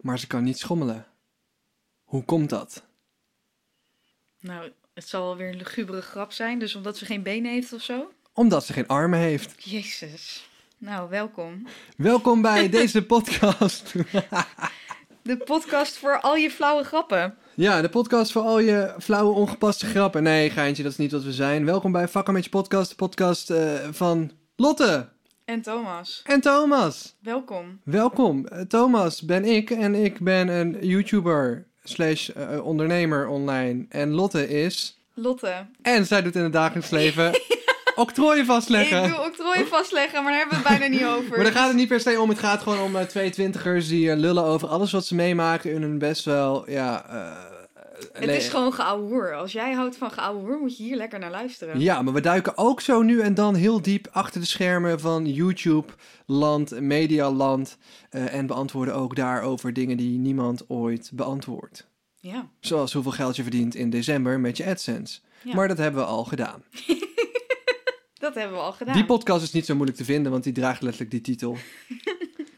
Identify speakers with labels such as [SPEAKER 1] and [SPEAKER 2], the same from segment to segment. [SPEAKER 1] maar ze kan niet schommelen. Hoe komt dat?
[SPEAKER 2] Nou, het zal wel weer een lugubere grap zijn, dus omdat ze geen benen heeft of zo.
[SPEAKER 1] Omdat ze geen armen heeft.
[SPEAKER 2] Jezus. Nou, welkom.
[SPEAKER 1] Welkom bij deze podcast.
[SPEAKER 2] De podcast voor al je flauwe grappen.
[SPEAKER 1] ja, de podcast voor al je flauwe, ongepaste grappen. Nee, geintje, dat is niet wat we zijn. Welkom bij Vakken met je podcast, de podcast eh, van Lotte
[SPEAKER 2] En Thomas,
[SPEAKER 1] en Thomas.
[SPEAKER 2] welkom.
[SPEAKER 1] Welkom. Eh, Thomas ben ik en ik ben een YouTuber slash eh, ondernemer online. En Lotte is...
[SPEAKER 2] Lotte,
[SPEAKER 1] En zij doet in het dagelijks leven octrooien vastleggen.
[SPEAKER 2] ik wil octrooien vastleggen, maar daar hebben we het bijna niet over.
[SPEAKER 1] Maar daar gaat het niet per se om. Het gaat gewoon om eh, twee twintigers die eh, lullen over alles wat ze meemaken in hun best wel, ja... eh,
[SPEAKER 2] Het
[SPEAKER 1] le-
[SPEAKER 2] is gewoon geouwehoer. Als jij houdt van geouwehoer, moet je hier lekker naar luisteren.
[SPEAKER 1] Ja, maar we duiken ook zo nu en dan heel diep achter de schermen van YouTube, land, medialand. eh, en beantwoorden ook daarover dingen die niemand ooit beantwoordt.
[SPEAKER 2] Ja.
[SPEAKER 1] Zoals hoeveel geld je verdient in december met je AdSense.
[SPEAKER 2] Ja.
[SPEAKER 1] Maar dat hebben we al gedaan.
[SPEAKER 2] Dat hebben we al gedaan.
[SPEAKER 1] Die podcast is niet zo moeilijk te vinden, want die draagt letterlijk die titel.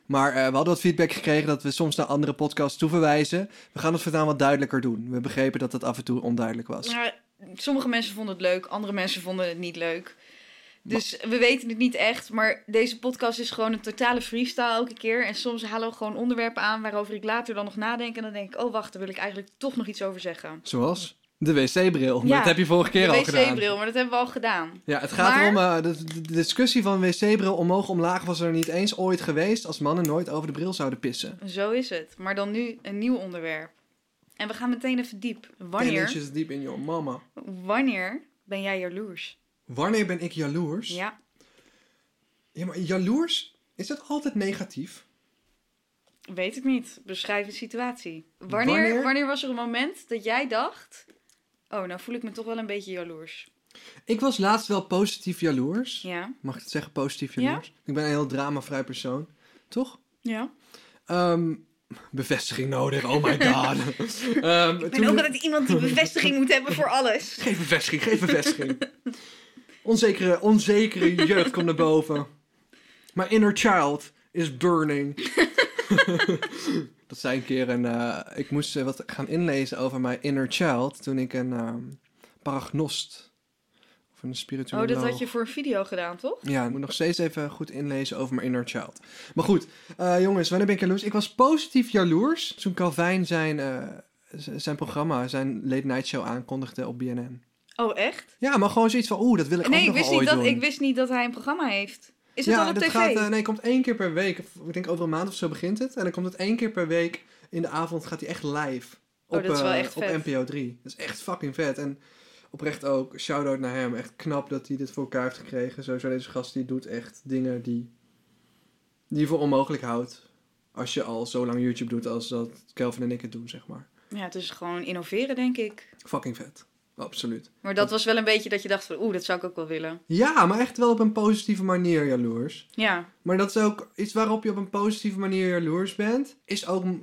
[SPEAKER 1] maar eh, we hadden wat feedback gekregen dat we soms naar andere podcasts toeverwijzen. We gaan het voortaan wat duidelijker doen. We begrepen dat dat af en toe onduidelijk was.
[SPEAKER 2] Maar Nou, sommige mensen vonden het leuk, andere mensen vonden het niet leuk. Dus we weten het niet echt, maar deze podcast is gewoon een totale freestyle elke keer. En soms halen we gewoon onderwerpen aan waarover ik later dan nog nadenk. En dan denk ik, oh wacht, daar wil ik eigenlijk toch nog iets over zeggen.
[SPEAKER 1] Zoals de wc-bril. Maar
[SPEAKER 2] Ja,
[SPEAKER 1] dat heb je vorige keer
[SPEAKER 2] de
[SPEAKER 1] al gedaan.
[SPEAKER 2] wc-bril, maar dat hebben we al gedaan.
[SPEAKER 1] Ja, het gaat
[SPEAKER 2] Maar-
[SPEAKER 1] erom, eh, de, de discussie van wc-bril omhoog omlaag was er niet eens ooit geweest als mannen nooit over de bril zouden pissen.
[SPEAKER 2] Zo is het. Maar dan nu een nieuw onderwerp. En we gaan meteen even diep.
[SPEAKER 1] Ten
[SPEAKER 2] Wanneer,
[SPEAKER 1] inches deep in your mama.
[SPEAKER 2] wanneer ben jij jaloers?
[SPEAKER 1] Wanneer ben ik jaloers?
[SPEAKER 2] Ja,
[SPEAKER 1] ja, maar jaloers, is dat altijd negatief?
[SPEAKER 2] weet ik niet. Beschrijf de situatie.
[SPEAKER 1] Wanneer?
[SPEAKER 2] Wanneer, wanneer was er een moment dat jij dacht... Oh, nou voel ik me toch wel een beetje jaloers.
[SPEAKER 1] Ik was laatst wel positief jaloers.
[SPEAKER 2] Ja.
[SPEAKER 1] Mag ik het zeggen, positief
[SPEAKER 2] Ja.
[SPEAKER 1] jaloers? Ik ben een heel dramavrij persoon, toch?
[SPEAKER 2] Ja.
[SPEAKER 1] Ehm, bevestiging nodig, oh my god. Ehm,
[SPEAKER 2] Ik
[SPEAKER 1] toen-
[SPEAKER 2] ben ook altijd iemand die bevestiging moet hebben voor alles.
[SPEAKER 1] Geef bevestiging, geef bevestiging. onzekere, onzekere jeugd komt naar boven. My inner child is burning. Dat zei een keer een... eh, ik moest eh, wat gaan inlezen over mijn inner child toen ik een ehm paragnost... Of een
[SPEAKER 2] Oh,
[SPEAKER 1] spiritueel.
[SPEAKER 2] dat had je voor een video gedaan, toch?
[SPEAKER 1] Ja, ik moet nog steeds even goed inlezen over mijn inner child. Maar goed, eh, jongens, wanneer ben ik jaloers? Ik was positief jaloers toen Calvin zijn, eh, z- zijn programma, zijn late night show aankondigde op BNN.
[SPEAKER 2] Oh, echt?
[SPEAKER 1] Ja, maar gewoon zoiets van, oeh, dat wil ik
[SPEAKER 2] nee,
[SPEAKER 1] ook
[SPEAKER 2] ik
[SPEAKER 1] nog
[SPEAKER 2] wist,
[SPEAKER 1] wel
[SPEAKER 2] niet
[SPEAKER 1] ooit
[SPEAKER 2] dat,
[SPEAKER 1] doen.
[SPEAKER 2] ik wist niet dat hij een programma heeft. Is het
[SPEAKER 1] ja,
[SPEAKER 2] al op
[SPEAKER 1] dat
[SPEAKER 2] tv?
[SPEAKER 1] Gaat, eh, nee, komt één keer per week. Of, Ik denk over een maand of zo begint het. En dan komt het één keer per week in de avond gaat hij echt live.
[SPEAKER 2] Oh, dat is wel
[SPEAKER 1] eh,
[SPEAKER 2] echt
[SPEAKER 1] op
[SPEAKER 2] vet.
[SPEAKER 1] NPO 3. Dat is echt fucking vet. En oprecht ook, shout-out naar hem. Echt knap dat hij dit voor elkaar heeft gekregen. Sowieso deze gast, die doet echt dingen die, die je voor onmogelijk houdt. Als je al zo lang YouTube doet als dat Kelvin en ik het doen, zeg maar.
[SPEAKER 2] Ja, het is gewoon innoveren, denk ik.
[SPEAKER 1] Fucking vet. Absoluut.
[SPEAKER 2] Maar dat was wel een beetje dat je dacht van, oeh, dat zou ik ook wel willen.
[SPEAKER 1] Ja, maar echt wel op een positieve manier jaloers.
[SPEAKER 2] Ja,
[SPEAKER 1] Maar dat is ook iets waarop je op een positieve manier jaloers bent. Is ook m-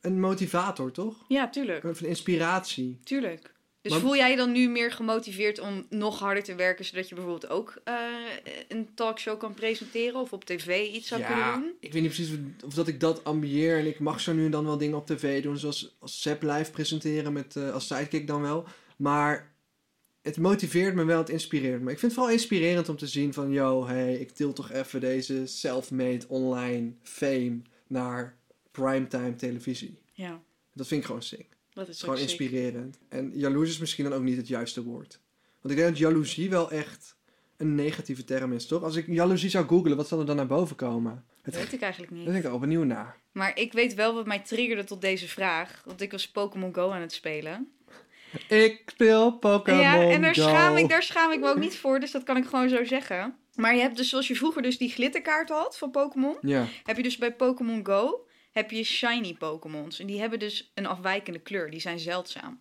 [SPEAKER 1] een motivator, toch?
[SPEAKER 2] ja, tuurlijk.
[SPEAKER 1] Of een inspiratie.
[SPEAKER 2] Tuurlijk. Dus
[SPEAKER 1] Maar-
[SPEAKER 2] voel jij je dan nu meer gemotiveerd om nog harder te werken, zodat je bijvoorbeeld ook eh, een talkshow kan presenteren of op tv iets zou kunnen doen?
[SPEAKER 1] ik weet niet precies of- of dat ik dat ambieer. En ik mag zo nu en dan wel dingen op tv doen. Zoals als Sepp live presenteren met, eh, als sidekick dan wel. Maar het motiveert me wel, het inspireert me. Ik vind het vooral inspirerend om te zien van... Yo, hey, ik til toch even deze self-made online fame naar primetime televisie.
[SPEAKER 2] Ja,
[SPEAKER 1] Dat vind ik gewoon sick.
[SPEAKER 2] dat is
[SPEAKER 1] Het is
[SPEAKER 2] ook
[SPEAKER 1] gewoon
[SPEAKER 2] sick.
[SPEAKER 1] inspirerend. En jaloers is misschien dan ook niet het juiste woord. Want ik denk dat jaloezie wel echt een negatieve term is, toch? Als ik jaloezie zou googlen, wat zal er dan naar boven komen?
[SPEAKER 2] Dat weet ik eigenlijk niet.
[SPEAKER 1] Daar denk ik al benieuwd naar.
[SPEAKER 2] Maar ik weet wel wat mij triggerde tot deze vraag. Want ik was Pokémon Go aan het spelen.
[SPEAKER 1] Ik speel Pokémon
[SPEAKER 2] ja, en daar
[SPEAKER 1] Go.
[SPEAKER 2] schaam, ik, daar schaam ik me ook niet voor. Dus dat kan ik gewoon zo zeggen. Maar je hebt dus, zoals je vroeger dus die glitterkaart had van Pokémon.
[SPEAKER 1] Ja,
[SPEAKER 2] Heb je dus bij Pokémon Go, heb je shiny Pokémons. En die hebben dus een afwijkende kleur. Die zijn zeldzaam.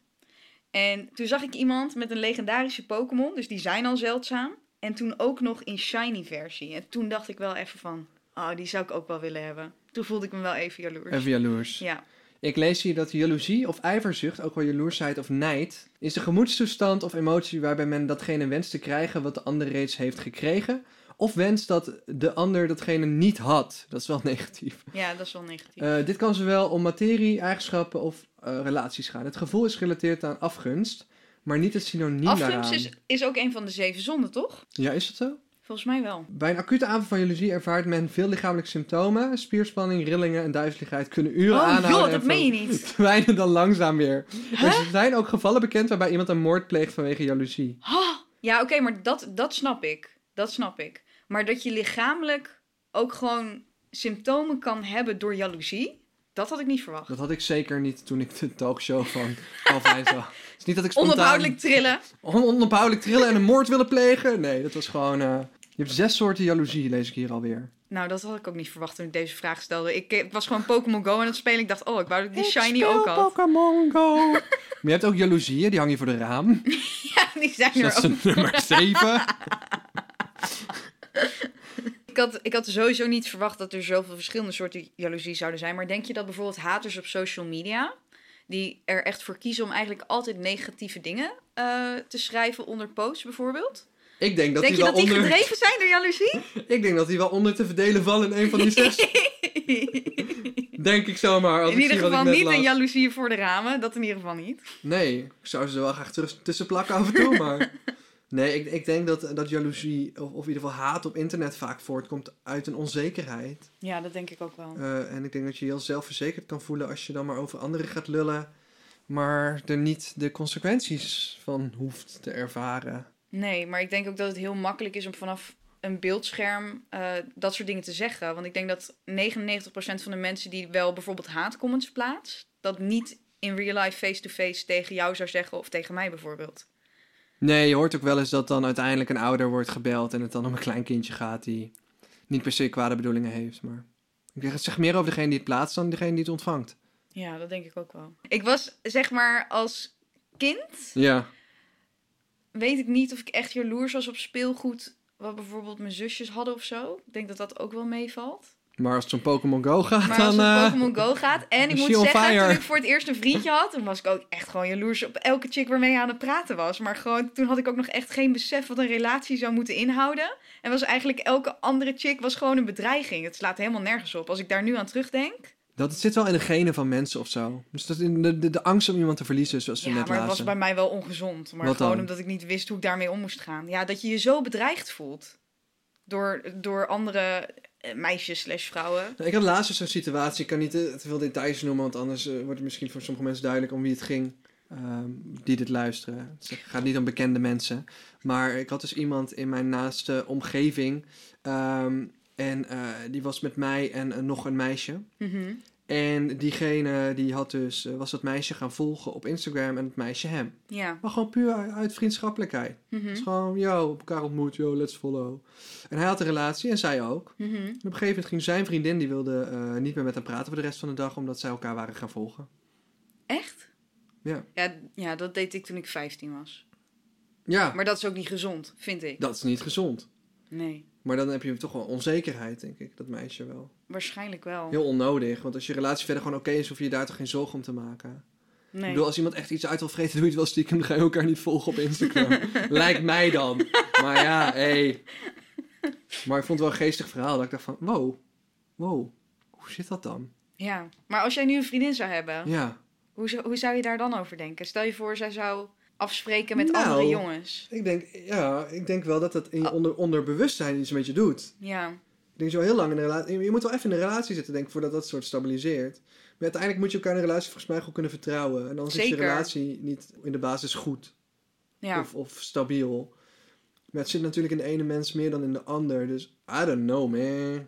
[SPEAKER 2] En toen zag ik iemand met een legendarische Pokémon. Dus die zijn al zeldzaam. En toen ook nog in shiny versie. En toen dacht ik wel even van, oh, die zou ik ook wel willen hebben. Toen voelde ik me wel even jaloers.
[SPEAKER 1] even jaloers.
[SPEAKER 2] Ja.
[SPEAKER 1] Ik lees hier dat jaloezie of ijverzucht, ook wel jaloersheid of nijd, is de gemoedstoestand of emotie waarbij men datgene wenst te krijgen wat de ander reeds heeft gekregen. Of wenst dat de ander datgene niet had. Dat is wel negatief.
[SPEAKER 2] ja, dat is wel negatief.
[SPEAKER 1] Eh, dit kan zowel om materie, eigenschappen of eh, relaties gaan. Het gevoel is gerelateerd aan afgunst, maar niet het synoniem
[SPEAKER 2] Afgunst
[SPEAKER 1] daaraan.
[SPEAKER 2] is, is ook een van de zeven zonden, toch?
[SPEAKER 1] Ja, is dat zo?
[SPEAKER 2] Volgens mij wel.
[SPEAKER 1] Bij een acute aanval van jaloezie ervaart men veel lichamelijke symptomen. Spierspanning, rillingen en duizeligheid kunnen uren
[SPEAKER 2] oh
[SPEAKER 1] aanhouden.
[SPEAKER 2] joh,
[SPEAKER 1] en
[SPEAKER 2] dat meen je niet.
[SPEAKER 1] verdwijnen dan langzaam weer. Er zijn ook gevallen bekend waarbij iemand een moord pleegt vanwege jaloezie.
[SPEAKER 2] Ja, oké, maar dat, dat snap ik. Dat snap ik. Maar dat je lichamelijk ook gewoon symptomen kan hebben door jaloezie, dat had ik niet verwacht.
[SPEAKER 1] Dat had ik zeker niet toen ik de talkshow van Calvin zag. Het is niet dat ik spontaan...
[SPEAKER 2] Onophoudelijk trillen.
[SPEAKER 1] On- onophoudelijk trillen en een moord willen plegen. Nee, dat was gewoon... eh, Je hebt zes soorten jaloezie, lees ik hier alweer.
[SPEAKER 2] Nou, dat had ik ook niet verwacht toen ik deze vraag stelde. Ik eh, was gewoon Pokémon Go aan het spelen. Ik dacht, oh, ik wou dat ik die shiny ook had.
[SPEAKER 1] Pokémon Go. maar je hebt ook jaloezieën, die hangen hier voor de raam.
[SPEAKER 2] Ja, die zijn
[SPEAKER 1] Dus
[SPEAKER 2] er
[SPEAKER 1] dat
[SPEAKER 2] ook.
[SPEAKER 1] is een nummer zeven.
[SPEAKER 2] Ik had, ik had sowieso niet verwacht dat er zoveel verschillende soorten jaloezie zouden zijn. Maar denk je dat bijvoorbeeld haters op social media, die er echt voor kiezen om eigenlijk altijd negatieve dingen eh, te schrijven onder posts bijvoorbeeld?
[SPEAKER 1] Ik denk dat
[SPEAKER 2] denk je
[SPEAKER 1] die
[SPEAKER 2] dat
[SPEAKER 1] wel
[SPEAKER 2] die
[SPEAKER 1] onder...
[SPEAKER 2] gedreven zijn door jaloezie?
[SPEAKER 1] Ik denk dat die wel onder te verdelen vallen in een van die zes. denk ik zomaar. Als
[SPEAKER 2] in
[SPEAKER 1] ik
[SPEAKER 2] ieder
[SPEAKER 1] zie wat ik
[SPEAKER 2] geval
[SPEAKER 1] net
[SPEAKER 2] niet een
[SPEAKER 1] las.
[SPEAKER 2] jaloezie voor de ramen, dat in ieder geval niet.
[SPEAKER 1] Nee, ik zou ze er wel graag terug tussen plakken af en toe, maar... Nee, ik, ik denk dat, dat jaloezie, of, of in ieder geval haat op internet vaak voortkomt uit een onzekerheid.
[SPEAKER 2] Ja, dat denk ik ook wel.
[SPEAKER 1] Eh, en ik denk dat je je heel zelfverzekerd kan voelen als je dan maar over anderen gaat lullen, maar er niet de consequenties van hoeft te ervaren.
[SPEAKER 2] Nee, maar ik denk ook dat het heel makkelijk is om vanaf een beeldscherm eh, dat soort dingen te zeggen. Want ik denk dat 99% van de mensen die wel bijvoorbeeld haatcomments plaatst, dat niet in real life face-to-face tegen jou zou zeggen of tegen mij bijvoorbeeld.
[SPEAKER 1] Nee, je hoort ook wel eens dat dan uiteindelijk een ouder wordt gebeld en het dan om een klein kindje gaat die niet per se kwade bedoelingen heeft, maar... Ik zeg- het zegt meer over degene die het plaatst dan degene die het ontvangt.
[SPEAKER 2] Ja, dat denk ik ook wel. Ik was zeg maar als kind,
[SPEAKER 1] Ja.
[SPEAKER 2] weet ik niet of ik echt jaloers was op speelgoed wat bijvoorbeeld mijn zusjes hadden of zo. Ik denk dat dat ook wel meevalt.
[SPEAKER 1] Maar als het zo'n Pokémon Go gaat,
[SPEAKER 2] Maar
[SPEAKER 1] dan...
[SPEAKER 2] als het om
[SPEAKER 1] eh,
[SPEAKER 2] Pokémon Go gaat. En ik
[SPEAKER 1] is
[SPEAKER 2] moet
[SPEAKER 1] she on
[SPEAKER 2] zeggen,
[SPEAKER 1] fire?
[SPEAKER 2] toen ik voor het eerst een vriendje had, toen was ik ook echt gewoon jaloers op elke chick waarmee hij aan het praten was. Maar gewoon, toen had ik ook nog echt geen besef wat een relatie zou moeten inhouden. En was eigenlijk elke andere chick was gewoon een bedreiging. Het slaat helemaal nergens op. Als ik daar nu aan terugdenk.
[SPEAKER 1] Dat zit wel in de genen van mensen of zo. Dus dat in de, de, de angst om iemand te verliezen, zoals we
[SPEAKER 2] Ja,
[SPEAKER 1] net
[SPEAKER 2] maar het was
[SPEAKER 1] lazen.
[SPEAKER 2] bij mij wel ongezond. Maar
[SPEAKER 1] Wat
[SPEAKER 2] gewoon
[SPEAKER 1] dan?
[SPEAKER 2] omdat ik niet wist hoe ik daarmee om moest gaan. Ja, dat je je zo bedreigd voelt. Door, door andere eh, meisjes slash vrouwen.
[SPEAKER 1] Nou, Ik had laatst zo'n situatie, ik kan niet te, te veel details noemen, want anders eh, wordt het misschien voor sommige mensen duidelijk om wie het ging. ehm, die dit luisteren. Dus het gaat niet om bekende mensen. Maar ik had dus iemand in mijn naaste omgeving. ehm, en eh, die was met mij en eh, nog een meisje.
[SPEAKER 2] Mhm.
[SPEAKER 1] En diegene die had dus, eh, was dat meisje gaan volgen op Instagram en het meisje hem.
[SPEAKER 2] Ja.
[SPEAKER 1] Maar gewoon puur uit vriendschappelijkheid.
[SPEAKER 2] Mhm.
[SPEAKER 1] Het is gewoon, yo, elkaar ontmoet, yo, let's follow. En hij had een relatie en zij ook.
[SPEAKER 2] Mhm.
[SPEAKER 1] En op een gegeven moment ging zijn vriendin, die wilde eh, niet meer met hem praten voor de rest van de dag, omdat zij elkaar waren gaan volgen.
[SPEAKER 2] Echt?
[SPEAKER 1] Ja.
[SPEAKER 2] ja. Ja, dat deed ik toen ik 15 was.
[SPEAKER 1] Ja,
[SPEAKER 2] Maar dat is ook niet gezond, vind ik.
[SPEAKER 1] dat is niet gezond.
[SPEAKER 2] Nee,
[SPEAKER 1] Maar dan heb je toch wel onzekerheid, denk ik, dat meisje wel.
[SPEAKER 2] waarschijnlijk wel.
[SPEAKER 1] Heel onnodig, want als je relatie verder gewoon oké is, hoef je je daar toch geen zorgen om te maken.
[SPEAKER 2] Nee.
[SPEAKER 1] Ik bedoel, als iemand echt iets uit wil vreten, doe je het wel stiekem, dan ga je elkaar niet volgen op Instagram. Lijkt mij dan. Maar ja, Hey. Maar ik vond het wel een geestig verhaal, dat ik dacht van, wow, wow, hoe zit dat dan?
[SPEAKER 2] Ja. Maar als jij nu een vriendin zou hebben,
[SPEAKER 1] Ja.
[SPEAKER 2] hoe, zou, hoe zou je daar dan over denken? Stel je voor, zij zou afspreken met
[SPEAKER 1] Nou.
[SPEAKER 2] andere jongens.
[SPEAKER 1] Ik denk, ja, ik denk wel dat dat in je onder, onderbewustzijn iets met je doet.
[SPEAKER 2] Ja.
[SPEAKER 1] Ik denk zo heel lang in een relatie. Je moet wel even in een relatie zitten, denk ik, voordat dat soort stabiliseert. Maar uiteindelijk moet je elkaar in een relatie volgens mij gewoon kunnen vertrouwen. En anders is je
[SPEAKER 2] Zeker.
[SPEAKER 1] relatie niet in de basis goed
[SPEAKER 2] Ja.
[SPEAKER 1] of, of stabiel. Maar het zit natuurlijk in de ene mens meer dan in de ander. Dus I don't know, man.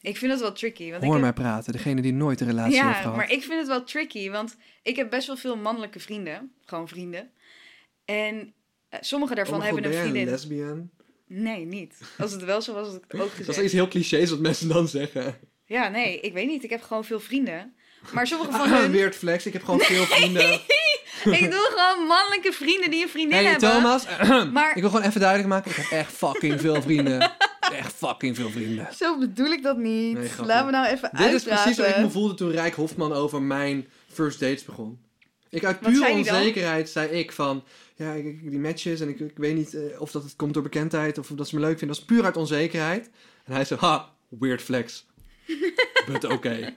[SPEAKER 2] Ik vind dat wel tricky. Want ik
[SPEAKER 1] Hoor
[SPEAKER 2] heb-
[SPEAKER 1] mij praten, degene die nooit een relatie heeft
[SPEAKER 2] Ja,
[SPEAKER 1] gehad.
[SPEAKER 2] maar ik vind het wel tricky, want ik heb best wel veel mannelijke vrienden. Gewoon vrienden. En eh, sommige daarvan
[SPEAKER 1] Oh mijn
[SPEAKER 2] hebben
[SPEAKER 1] god,
[SPEAKER 2] een
[SPEAKER 1] ben jij
[SPEAKER 2] vriendin.
[SPEAKER 1] lesbian?
[SPEAKER 2] Nee, niet. Als het wel zo was, had ik het ook
[SPEAKER 1] Dat
[SPEAKER 2] gezegd.
[SPEAKER 1] is iets heel clichés wat mensen dan zeggen.
[SPEAKER 2] Ja, nee, ik weet niet. Ik heb gewoon veel vrienden. Maar sommige van
[SPEAKER 1] Ah,
[SPEAKER 2] hun...
[SPEAKER 1] weird flex, ik heb gewoon veel vrienden.
[SPEAKER 2] Ik bedoel gewoon mannelijke vrienden die een vriendin
[SPEAKER 1] Hey
[SPEAKER 2] hebben.
[SPEAKER 1] Thomas,
[SPEAKER 2] Maar-
[SPEAKER 1] ik wil gewoon even duidelijk maken, ik heb echt fucking veel vrienden. Echt fucking veel vrienden.
[SPEAKER 2] Zo bedoel ik dat niet.
[SPEAKER 1] Nee, grapje.
[SPEAKER 2] Laat me nou even
[SPEAKER 1] Dit is precies hoe ik me
[SPEAKER 2] uitpraten.
[SPEAKER 1] voelde toen Rijk Hofman over mijn first dates begon. Ik uit
[SPEAKER 2] Wat
[SPEAKER 1] pure
[SPEAKER 2] zei die dan?
[SPEAKER 1] onzekerheid zei ik van, ja, ik- ik- die matches en ik, ik weet niet eh, of dat het komt door bekendheid of dat ze me leuk vinden. Dat is puur uit onzekerheid. En hij zei, ha, weird flex. But oké.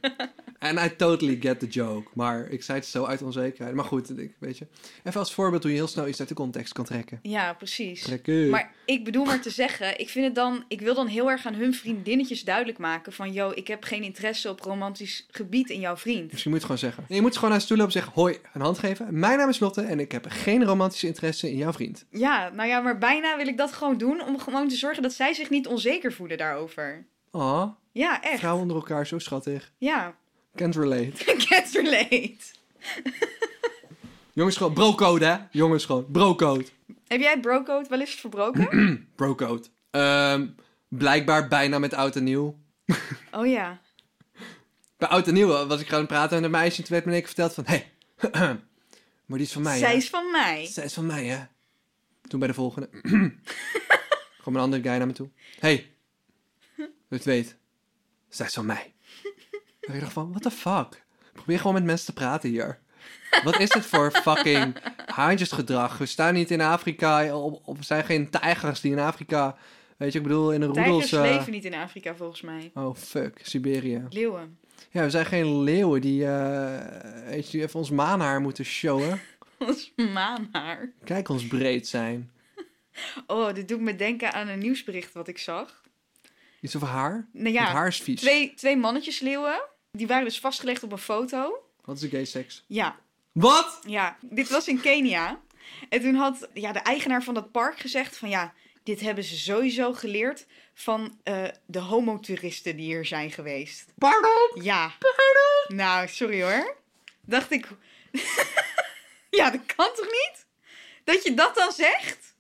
[SPEAKER 1] En I totally get the joke. Maar ik zei het zo uit onzekerheid. Maar goed, ik, weet je. Even als voorbeeld hoe je heel snel iets uit de context kan trekken.
[SPEAKER 2] Ja, precies.
[SPEAKER 1] Trekken.
[SPEAKER 2] Maar ik bedoel maar te zeggen, ik, vind het dan, ik wil dan heel erg aan hun vriendinnetjes duidelijk maken van... ...yo, ik heb geen interesse op romantisch gebied in jouw vriend.
[SPEAKER 1] Misschien moet je het gewoon zeggen. Nee, Je moet gewoon naar stoel lopen en zeggen, hoi, een hand geven. Mijn naam is Lotte en ik heb geen romantische interesse in jouw vriend.
[SPEAKER 2] Ja, nou ja, maar bijna wil ik dat gewoon doen om gewoon te zorgen dat zij zich niet onzeker voelen daarover.
[SPEAKER 1] Ah,
[SPEAKER 2] Ja, echt.
[SPEAKER 1] vrouwen onder elkaar, zo schattig.
[SPEAKER 2] Ja,
[SPEAKER 1] Can't relate.
[SPEAKER 2] get relate.
[SPEAKER 1] Jongens gewoon, brocode hè? Jongens gewoon, brocode.
[SPEAKER 2] Heb jij brocode wel eens verbroken?
[SPEAKER 1] Brocode. Ehm, blijkbaar bijna met oud en nieuw.
[SPEAKER 2] oh ja.
[SPEAKER 1] Bij oud en nieuw was ik gaan praten met een meisje en toen werd me in één keer verteld van... Hé, hey, maar die is van mij
[SPEAKER 2] Zij
[SPEAKER 1] hè?
[SPEAKER 2] is van mij.
[SPEAKER 1] Zij is van mij hè? Toen bij de volgende. gewoon een andere guy naar me toe. Hé, hey, dat je het weet. Zij is van mij. En ik dacht van, what the fuck? Probeer gewoon met mensen te praten hier. Wat is dit voor fucking haantjesgedrag? We staan niet in Afrika, op, op, we zijn geen tijgers die in Afrika... Weet je, ik bedoel, in een roedels...
[SPEAKER 2] Tijgers
[SPEAKER 1] eh,
[SPEAKER 2] leven niet in Afrika volgens mij.
[SPEAKER 1] Oh, fuck, Siberië.
[SPEAKER 2] Leeuwen.
[SPEAKER 1] Ja, we zijn geen leeuwen die, eh, weet je, die even ons maanhaar moeten showen.
[SPEAKER 2] Dat is maanhaar.
[SPEAKER 1] Kijk ons breed zijn.
[SPEAKER 2] Oh, dit doet me denken aan een nieuwsbericht wat ik zag.
[SPEAKER 1] Iets over haar?
[SPEAKER 2] Nou
[SPEAKER 1] Het
[SPEAKER 2] ja,
[SPEAKER 1] haar is vies.
[SPEAKER 2] twee, twee mannetjes leeuwen. Die waren dus vastgelegd op een foto.
[SPEAKER 1] Wat is gay seks?
[SPEAKER 2] Ja,
[SPEAKER 1] Wat?
[SPEAKER 2] Ja, dit was in Kenia. En toen had ja, de eigenaar van dat park gezegd van ja, dit hebben ze sowieso geleerd van eh, de homotoeristen die hier zijn geweest.
[SPEAKER 1] Pardon?
[SPEAKER 2] Ja. Nou, sorry hoor. Dacht ik, ja, dat kan toch niet? Dat je dat dan zegt?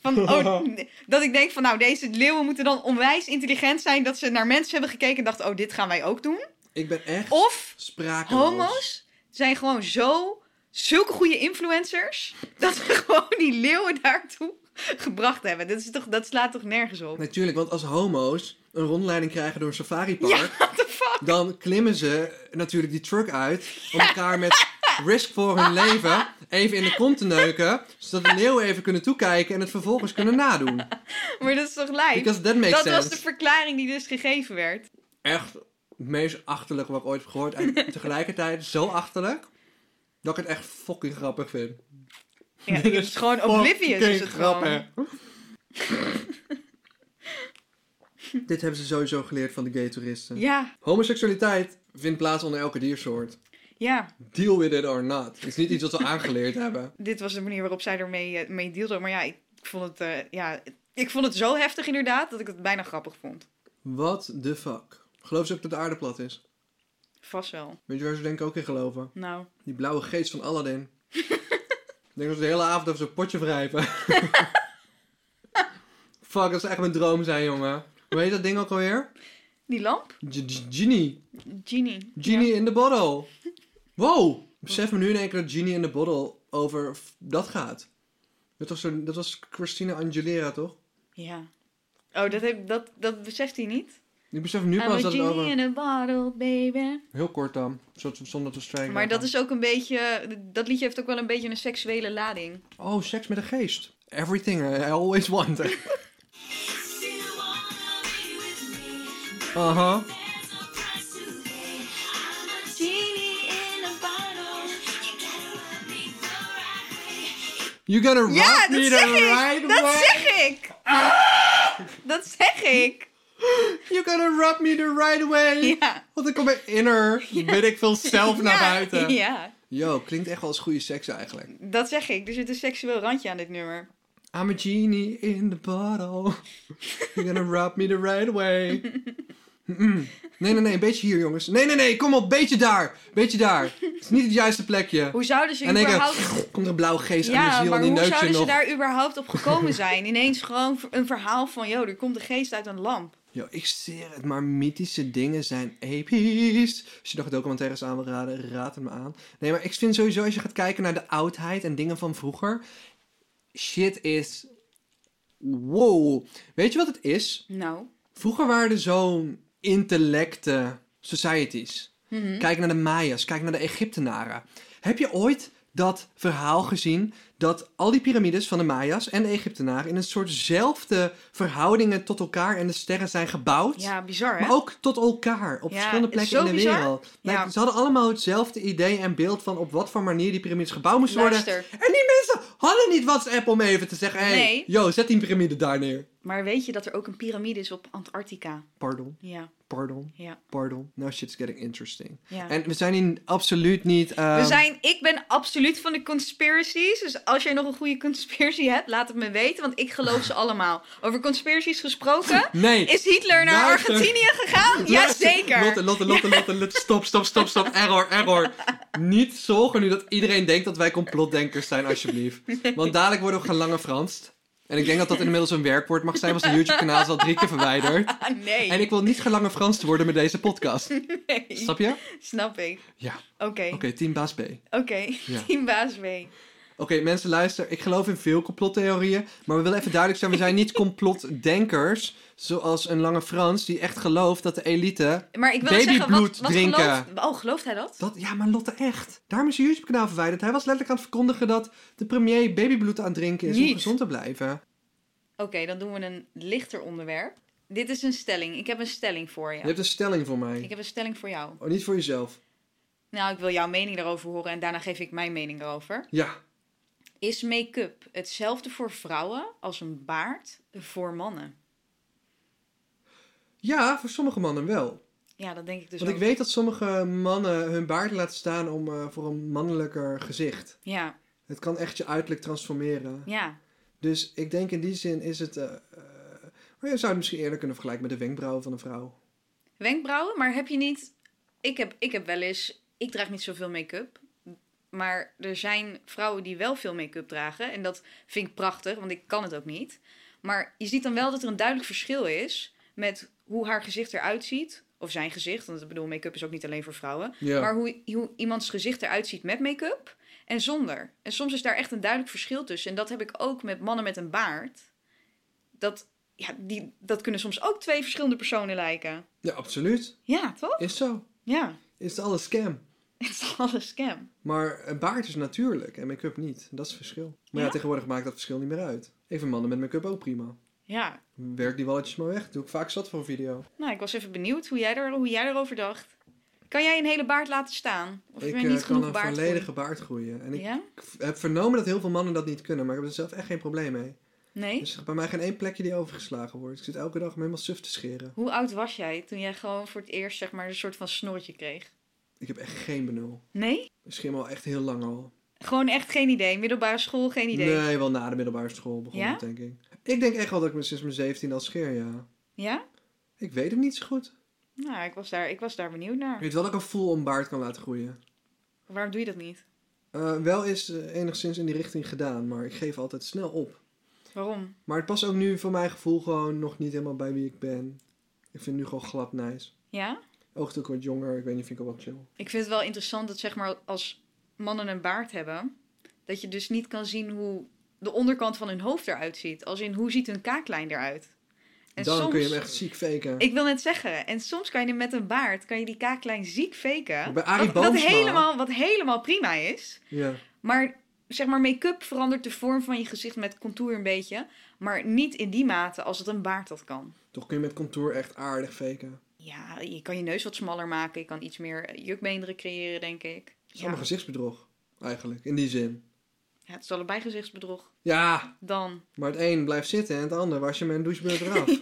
[SPEAKER 2] Van, oh, nee. dat ik denk van nou, deze leeuwen moeten dan onwijs intelligent zijn dat ze naar mensen hebben gekeken en dachten, oh, dit gaan wij ook doen.
[SPEAKER 1] Ik ben echt
[SPEAKER 2] Of
[SPEAKER 1] sprakeloos.
[SPEAKER 2] Homo's zijn gewoon zo zulke goede influencers dat we gewoon die leeuwen daartoe gebracht hebben. Dat, is toch, dat slaat toch nergens op?
[SPEAKER 1] Natuurlijk, want als homo's een rondleiding krijgen door een safaripark...
[SPEAKER 2] Ja, what the fuck?
[SPEAKER 1] dan klimmen ze natuurlijk die truck uit... om elkaar met risk voor hun leven even in de kont te neuken... zodat de leeuwen even kunnen toekijken en het vervolgens kunnen nadoen.
[SPEAKER 2] Maar dat is toch lijf?
[SPEAKER 1] Because that makes
[SPEAKER 2] Dat
[SPEAKER 1] sense.
[SPEAKER 2] was de verklaring die dus gegeven werd.
[SPEAKER 1] Echt het meest achterlijk wat ik ooit heb gehoord... en tegelijkertijd zo achterlijk... dat ik het echt fucking grappig vind.
[SPEAKER 2] Ja,
[SPEAKER 1] Dit
[SPEAKER 2] het is gewoon oblivious is het gewoon.
[SPEAKER 1] Dit hebben ze sowieso geleerd van de gay toeristen.
[SPEAKER 2] Ja,
[SPEAKER 1] Homoseksualiteit vindt plaats onder elke diersoort.
[SPEAKER 2] ja.
[SPEAKER 1] Deal with it or not. Het is niet iets wat we aangeleerd hebben.
[SPEAKER 2] Dit was de manier waarop zij ermee eh, mee dealde. Maar ja, ik vond het... eh, ja, ik vond het zo heftig inderdaad dat ik het bijna grappig vond.
[SPEAKER 1] What the fuck? Geloof ze ook dat de aarde plat is?
[SPEAKER 2] Vast wel.
[SPEAKER 1] Weet je waar ze denk ik ook in geloven?
[SPEAKER 2] Nou,
[SPEAKER 1] Die blauwe geest van Aladdin. ik denk dat ze de hele avond over zo'n potje wrijven. fuck, dat zou echt mijn droom zijn, jongen. Hoe heet dat ding ook alweer?
[SPEAKER 2] die lamp?
[SPEAKER 1] G- G- Genie.
[SPEAKER 2] Genie.
[SPEAKER 1] Genie in the bottle. Wow. Besef me nu in één keer dat Genie in the bottle over f- dat gaat. Dat was, zo'n- dat was Christina Angelera, toch?
[SPEAKER 2] Ja. Oh, dat, heb, dat, dat beseft hij niet?
[SPEAKER 1] Ik besef nu
[SPEAKER 2] I'm
[SPEAKER 1] pas
[SPEAKER 2] a
[SPEAKER 1] dat het
[SPEAKER 2] genie
[SPEAKER 1] over...
[SPEAKER 2] in a bottle, baby.
[SPEAKER 1] Heel kort dan, zo- zonder te strijken.
[SPEAKER 2] Maar dat is ook een beetje... Dat liedje heeft ook wel een beetje een seksuele lading.
[SPEAKER 1] Oh, seks met een geest. Everything I always wanted. Aha. You gonna rock
[SPEAKER 2] Ja, dat
[SPEAKER 1] me the
[SPEAKER 2] zeg ik!
[SPEAKER 1] right Ah!
[SPEAKER 2] Dat
[SPEAKER 1] way.
[SPEAKER 2] zeg ik! Dat zeg ik!
[SPEAKER 1] You gonna rub me the right way.
[SPEAKER 2] Ja.
[SPEAKER 1] Want ik kom bij inner, weet ik veel, zelf naar
[SPEAKER 2] Ja,
[SPEAKER 1] buiten.
[SPEAKER 2] Ja,
[SPEAKER 1] Yo, klinkt echt wel als goede seks eigenlijk.
[SPEAKER 2] dat zeg ik. Er zit een seksueel randje aan dit nummer.
[SPEAKER 1] I'm a genie in the bottle. You're gonna rub me the right way. Mm-mm. Nee, nee, nee, een beetje hier, jongens. Nee, nee, nee, kom op, beetje daar. Beetje daar. Het is niet het juiste plekje.
[SPEAKER 2] Hoe zouden ze
[SPEAKER 1] En ik eh,
[SPEAKER 2] überhaupt...
[SPEAKER 1] komt er een blauwe geest aan
[SPEAKER 2] Ja,
[SPEAKER 1] je ziel en
[SPEAKER 2] maar
[SPEAKER 1] die
[SPEAKER 2] hoe
[SPEAKER 1] neukt
[SPEAKER 2] zouden
[SPEAKER 1] je
[SPEAKER 2] ze
[SPEAKER 1] nog.
[SPEAKER 2] daar überhaupt op gekomen zijn? Ineens gewoon een verhaal van, joh, er komt een geest uit een lamp.
[SPEAKER 1] Yo, ik zeer het, maar mythische dingen zijn episch. Als je nog documentaires aan wil raden, raad het me aan. Nee, maar ik vind sowieso als je gaat kijken naar de oudheid en dingen van vroeger. Shit is... Wow. Weet je wat het is?
[SPEAKER 2] Nou.
[SPEAKER 1] Vroeger waren er zo'n intellecte societies.
[SPEAKER 2] mhm.
[SPEAKER 1] Kijk naar de Maya's, kijk naar de Egyptenaren. Heb je ooit dat verhaal gezien dat al die piramides van de Maya's en de Egyptenaren in een soortzelfde verhoudingen tot elkaar en de sterren zijn gebouwd?
[SPEAKER 2] Ja, bizar hè?
[SPEAKER 1] Maar ook tot elkaar op
[SPEAKER 2] Ja,
[SPEAKER 1] verschillende
[SPEAKER 2] het is
[SPEAKER 1] plekken in
[SPEAKER 2] zo
[SPEAKER 1] de
[SPEAKER 2] bizar.
[SPEAKER 1] wereld.
[SPEAKER 2] Ja.
[SPEAKER 1] Like, Ze hadden allemaal hetzelfde idee en beeld van op wat voor manier die piramides gebouwd moesten worden.
[SPEAKER 2] Luister,
[SPEAKER 1] En die mensen hadden niet WhatsApp om even te zeggen: hé, hey,
[SPEAKER 2] Nee.
[SPEAKER 1] yo, zet die piramide daar neer.
[SPEAKER 2] maar weet je dat er ook een piramide is op Antarctica?
[SPEAKER 1] Pardon,
[SPEAKER 2] Ja,
[SPEAKER 1] pardon,
[SPEAKER 2] ja,
[SPEAKER 1] pardon. Now shit's getting interesting.
[SPEAKER 2] ja.
[SPEAKER 1] En we zijn hier absoluut niet.
[SPEAKER 2] We
[SPEAKER 1] ehm,
[SPEAKER 2] zijn, ik ben absoluut van de conspiracies. Dus als jij nog een goede conspiracy hebt, laat het me weten. Want ik geloof ze allemaal. Over conspiracies gesproken.
[SPEAKER 1] Nee.
[SPEAKER 2] Is Hitler naar
[SPEAKER 1] Luister.
[SPEAKER 2] Argentinië gegaan?
[SPEAKER 1] Lotte,
[SPEAKER 2] Jazeker.
[SPEAKER 1] Lotte, Lotte, Lotte, Lotte, stop, stop, stop, stop. Error, error. Niet zorgen nu dat iedereen denkt dat wij complotdenkers zijn, alsjeblieft. Want dadelijk worden we gelange Franst. En ik denk dat dat inmiddels een werkwoord mag zijn, want zijn YouTube-kanaal is al drie keer verwijderd.
[SPEAKER 2] Ah, nee.
[SPEAKER 1] En ik wil niet gelange Franst worden met deze podcast.
[SPEAKER 2] Nee.
[SPEAKER 1] Snap je?
[SPEAKER 2] Snap ik.
[SPEAKER 1] Ja.
[SPEAKER 2] Oké,
[SPEAKER 1] Oké, team baas B. Oké,
[SPEAKER 2] oké.
[SPEAKER 1] Ja.
[SPEAKER 2] Team baas mee.
[SPEAKER 1] mensen, luister. Ik geloof in veel complottheorieën. Maar we willen even duidelijk zijn, we zijn niet complotdenkers. Zoals een lange Frans die echt gelooft dat de elite
[SPEAKER 2] Maar ik wil zeggen, wat,
[SPEAKER 1] Babybloed
[SPEAKER 2] wat
[SPEAKER 1] drinken.
[SPEAKER 2] gelooft... Oh, gelooft hij dat?
[SPEAKER 1] Dat, ja, maar Lotte, echt. Daarom is zijn YouTube-kanaal verwijderd. Hij was letterlijk aan het verkondigen dat de premier babybloed aan het drinken is om
[SPEAKER 2] Niet.
[SPEAKER 1] gezond te blijven.
[SPEAKER 2] Oké, dan doen we een lichter onderwerp. Dit is een stelling. Ik heb een stelling voor
[SPEAKER 1] Je
[SPEAKER 2] je.
[SPEAKER 1] hebt een stelling voor mij.
[SPEAKER 2] Ik heb een stelling voor jou.
[SPEAKER 1] Oh, niet voor jezelf.
[SPEAKER 2] Nou, ik wil jouw mening daarover horen en daarna geef ik mijn mening daarover.
[SPEAKER 1] Ja.
[SPEAKER 2] Is make-up hetzelfde voor vrouwen als een baard voor mannen?
[SPEAKER 1] Ja, voor sommige mannen wel.
[SPEAKER 2] Ja, dat denk ik dus
[SPEAKER 1] Want ik
[SPEAKER 2] ook.
[SPEAKER 1] weet dat sommige mannen hun baard laten staan om, eh, voor een mannelijker gezicht.
[SPEAKER 2] Ja,
[SPEAKER 1] Het kan echt je uiterlijk transformeren.
[SPEAKER 2] ja.
[SPEAKER 1] Dus ik denk in die zin is het... eh, eh, maar je zou het misschien eerder kunnen vergelijken met de wenkbrauwen van een vrouw.
[SPEAKER 2] Wenkbrauwen, maar heb je niet... Ik heb, ik heb wel eens... Ik draag niet zoveel make-up. Maar er zijn vrouwen die wel veel make-up dragen. En dat vind ik prachtig, want ik kan het ook niet. Maar je ziet dan wel dat er een duidelijk verschil is... met hoe haar gezicht eruit ziet. Of zijn gezicht, want ik bedoel, make-up is ook niet alleen voor vrouwen.
[SPEAKER 1] Ja.
[SPEAKER 2] Maar hoe, hoe iemands gezicht eruit ziet met make-up en zonder. En soms is daar echt een duidelijk verschil tussen. En dat heb ik ook met mannen met een baard. Dat, ja, die, dat kunnen soms ook twee verschillende personen lijken.
[SPEAKER 1] Ja, absoluut.
[SPEAKER 2] Ja, toch?
[SPEAKER 1] Is zo.
[SPEAKER 2] Ja.
[SPEAKER 1] Is alles scam.
[SPEAKER 2] Het is al een scam.
[SPEAKER 1] Maar een baard is natuurlijk en make-up niet. Dat is het verschil. Maar ja,
[SPEAKER 2] Ja?
[SPEAKER 1] tegenwoordig maakt dat verschil niet meer uit. Ik vind mannen met make-up ook prima.
[SPEAKER 2] Ja.
[SPEAKER 1] Werk die walletjes maar weg. Doe ik vaak zat voor een video.
[SPEAKER 2] Nou, ik was even benieuwd hoe jij, er, hoe jij erover dacht. Kan jij een hele baard laten staan? Of
[SPEAKER 1] ik
[SPEAKER 2] heb je
[SPEAKER 1] eh,
[SPEAKER 2] niet
[SPEAKER 1] kan
[SPEAKER 2] genoeg
[SPEAKER 1] een
[SPEAKER 2] baard?
[SPEAKER 1] volledige
[SPEAKER 2] voor?
[SPEAKER 1] baard groeien. En ik
[SPEAKER 2] Ja?
[SPEAKER 1] v- heb vernomen dat heel veel mannen dat niet kunnen. Maar ik heb er zelf echt geen probleem mee.
[SPEAKER 2] Nee?
[SPEAKER 1] Dus er is bij mij geen één plekje die overgeslagen wordt. Ik zit elke dag me helemaal suf te scheren.
[SPEAKER 2] Hoe oud was jij toen jij gewoon voor het eerst zeg maar een soort van snorretje kreeg?
[SPEAKER 1] Ik heb echt geen benul.
[SPEAKER 2] Nee?
[SPEAKER 1] Ik schimmel al echt heel lang al.
[SPEAKER 2] Gewoon echt geen idee. Middelbare school, geen idee.
[SPEAKER 1] Nee, wel na de middelbare school begon
[SPEAKER 2] Ja?
[SPEAKER 1] het, denk ik. Ik denk echt wel dat ik me sinds mijn 17 al scheer, ja.
[SPEAKER 2] Ja?
[SPEAKER 1] Ik weet het niet zo goed.
[SPEAKER 2] Nou, ik was daar, ik was daar benieuwd
[SPEAKER 1] Ik
[SPEAKER 2] naar.
[SPEAKER 1] weet wel dat ik een full-on baard kan laten groeien.
[SPEAKER 2] Waarom doe je dat niet?
[SPEAKER 1] Eh, wel is eh, enigszins in die richting gedaan, maar ik geef altijd snel op.
[SPEAKER 2] Waarom?
[SPEAKER 1] Maar het past ook nu voor mijn gevoel gewoon nog niet helemaal bij wie ik ben. Ik vind het nu gewoon glad nice.
[SPEAKER 2] Ja?
[SPEAKER 1] Oogt ook wat jonger, ik weet niet, vind ik ook wel chill.
[SPEAKER 2] Ik vind het wel interessant dat zeg maar als mannen een baard hebben, dat je dus niet kan zien hoe de onderkant van hun hoofd eruit ziet. Als in hoe ziet hun kaaklijn eruit. En
[SPEAKER 1] Dan
[SPEAKER 2] soms,
[SPEAKER 1] kun je hem echt ziek faken.
[SPEAKER 2] Ik wil net zeggen, en soms kan je met een baard kan je die kaaklijn ziek faken.
[SPEAKER 1] Bij Arie
[SPEAKER 2] wat, wat,
[SPEAKER 1] Boomsma.
[SPEAKER 2] helemaal, wat helemaal prima is.
[SPEAKER 1] Ja.
[SPEAKER 2] Maar zeg maar, make-up verandert de vorm van je gezicht met contour een beetje. Maar niet in die mate als het een baard dat kan.
[SPEAKER 1] Toch kun je met contour echt aardig faken.
[SPEAKER 2] Ja, je kan je neus wat smaller maken. Je kan iets meer jukbeenderen creëren, denk ik.
[SPEAKER 1] Het is allemaal
[SPEAKER 2] Ja.
[SPEAKER 1] gezichtsbedrog, eigenlijk, in die zin.
[SPEAKER 2] Ja, het is allebei gezichtsbedrog.
[SPEAKER 1] Ja,
[SPEAKER 2] Dan.
[SPEAKER 1] maar het een blijft zitten en het ander was je met een douchebeurt eraf.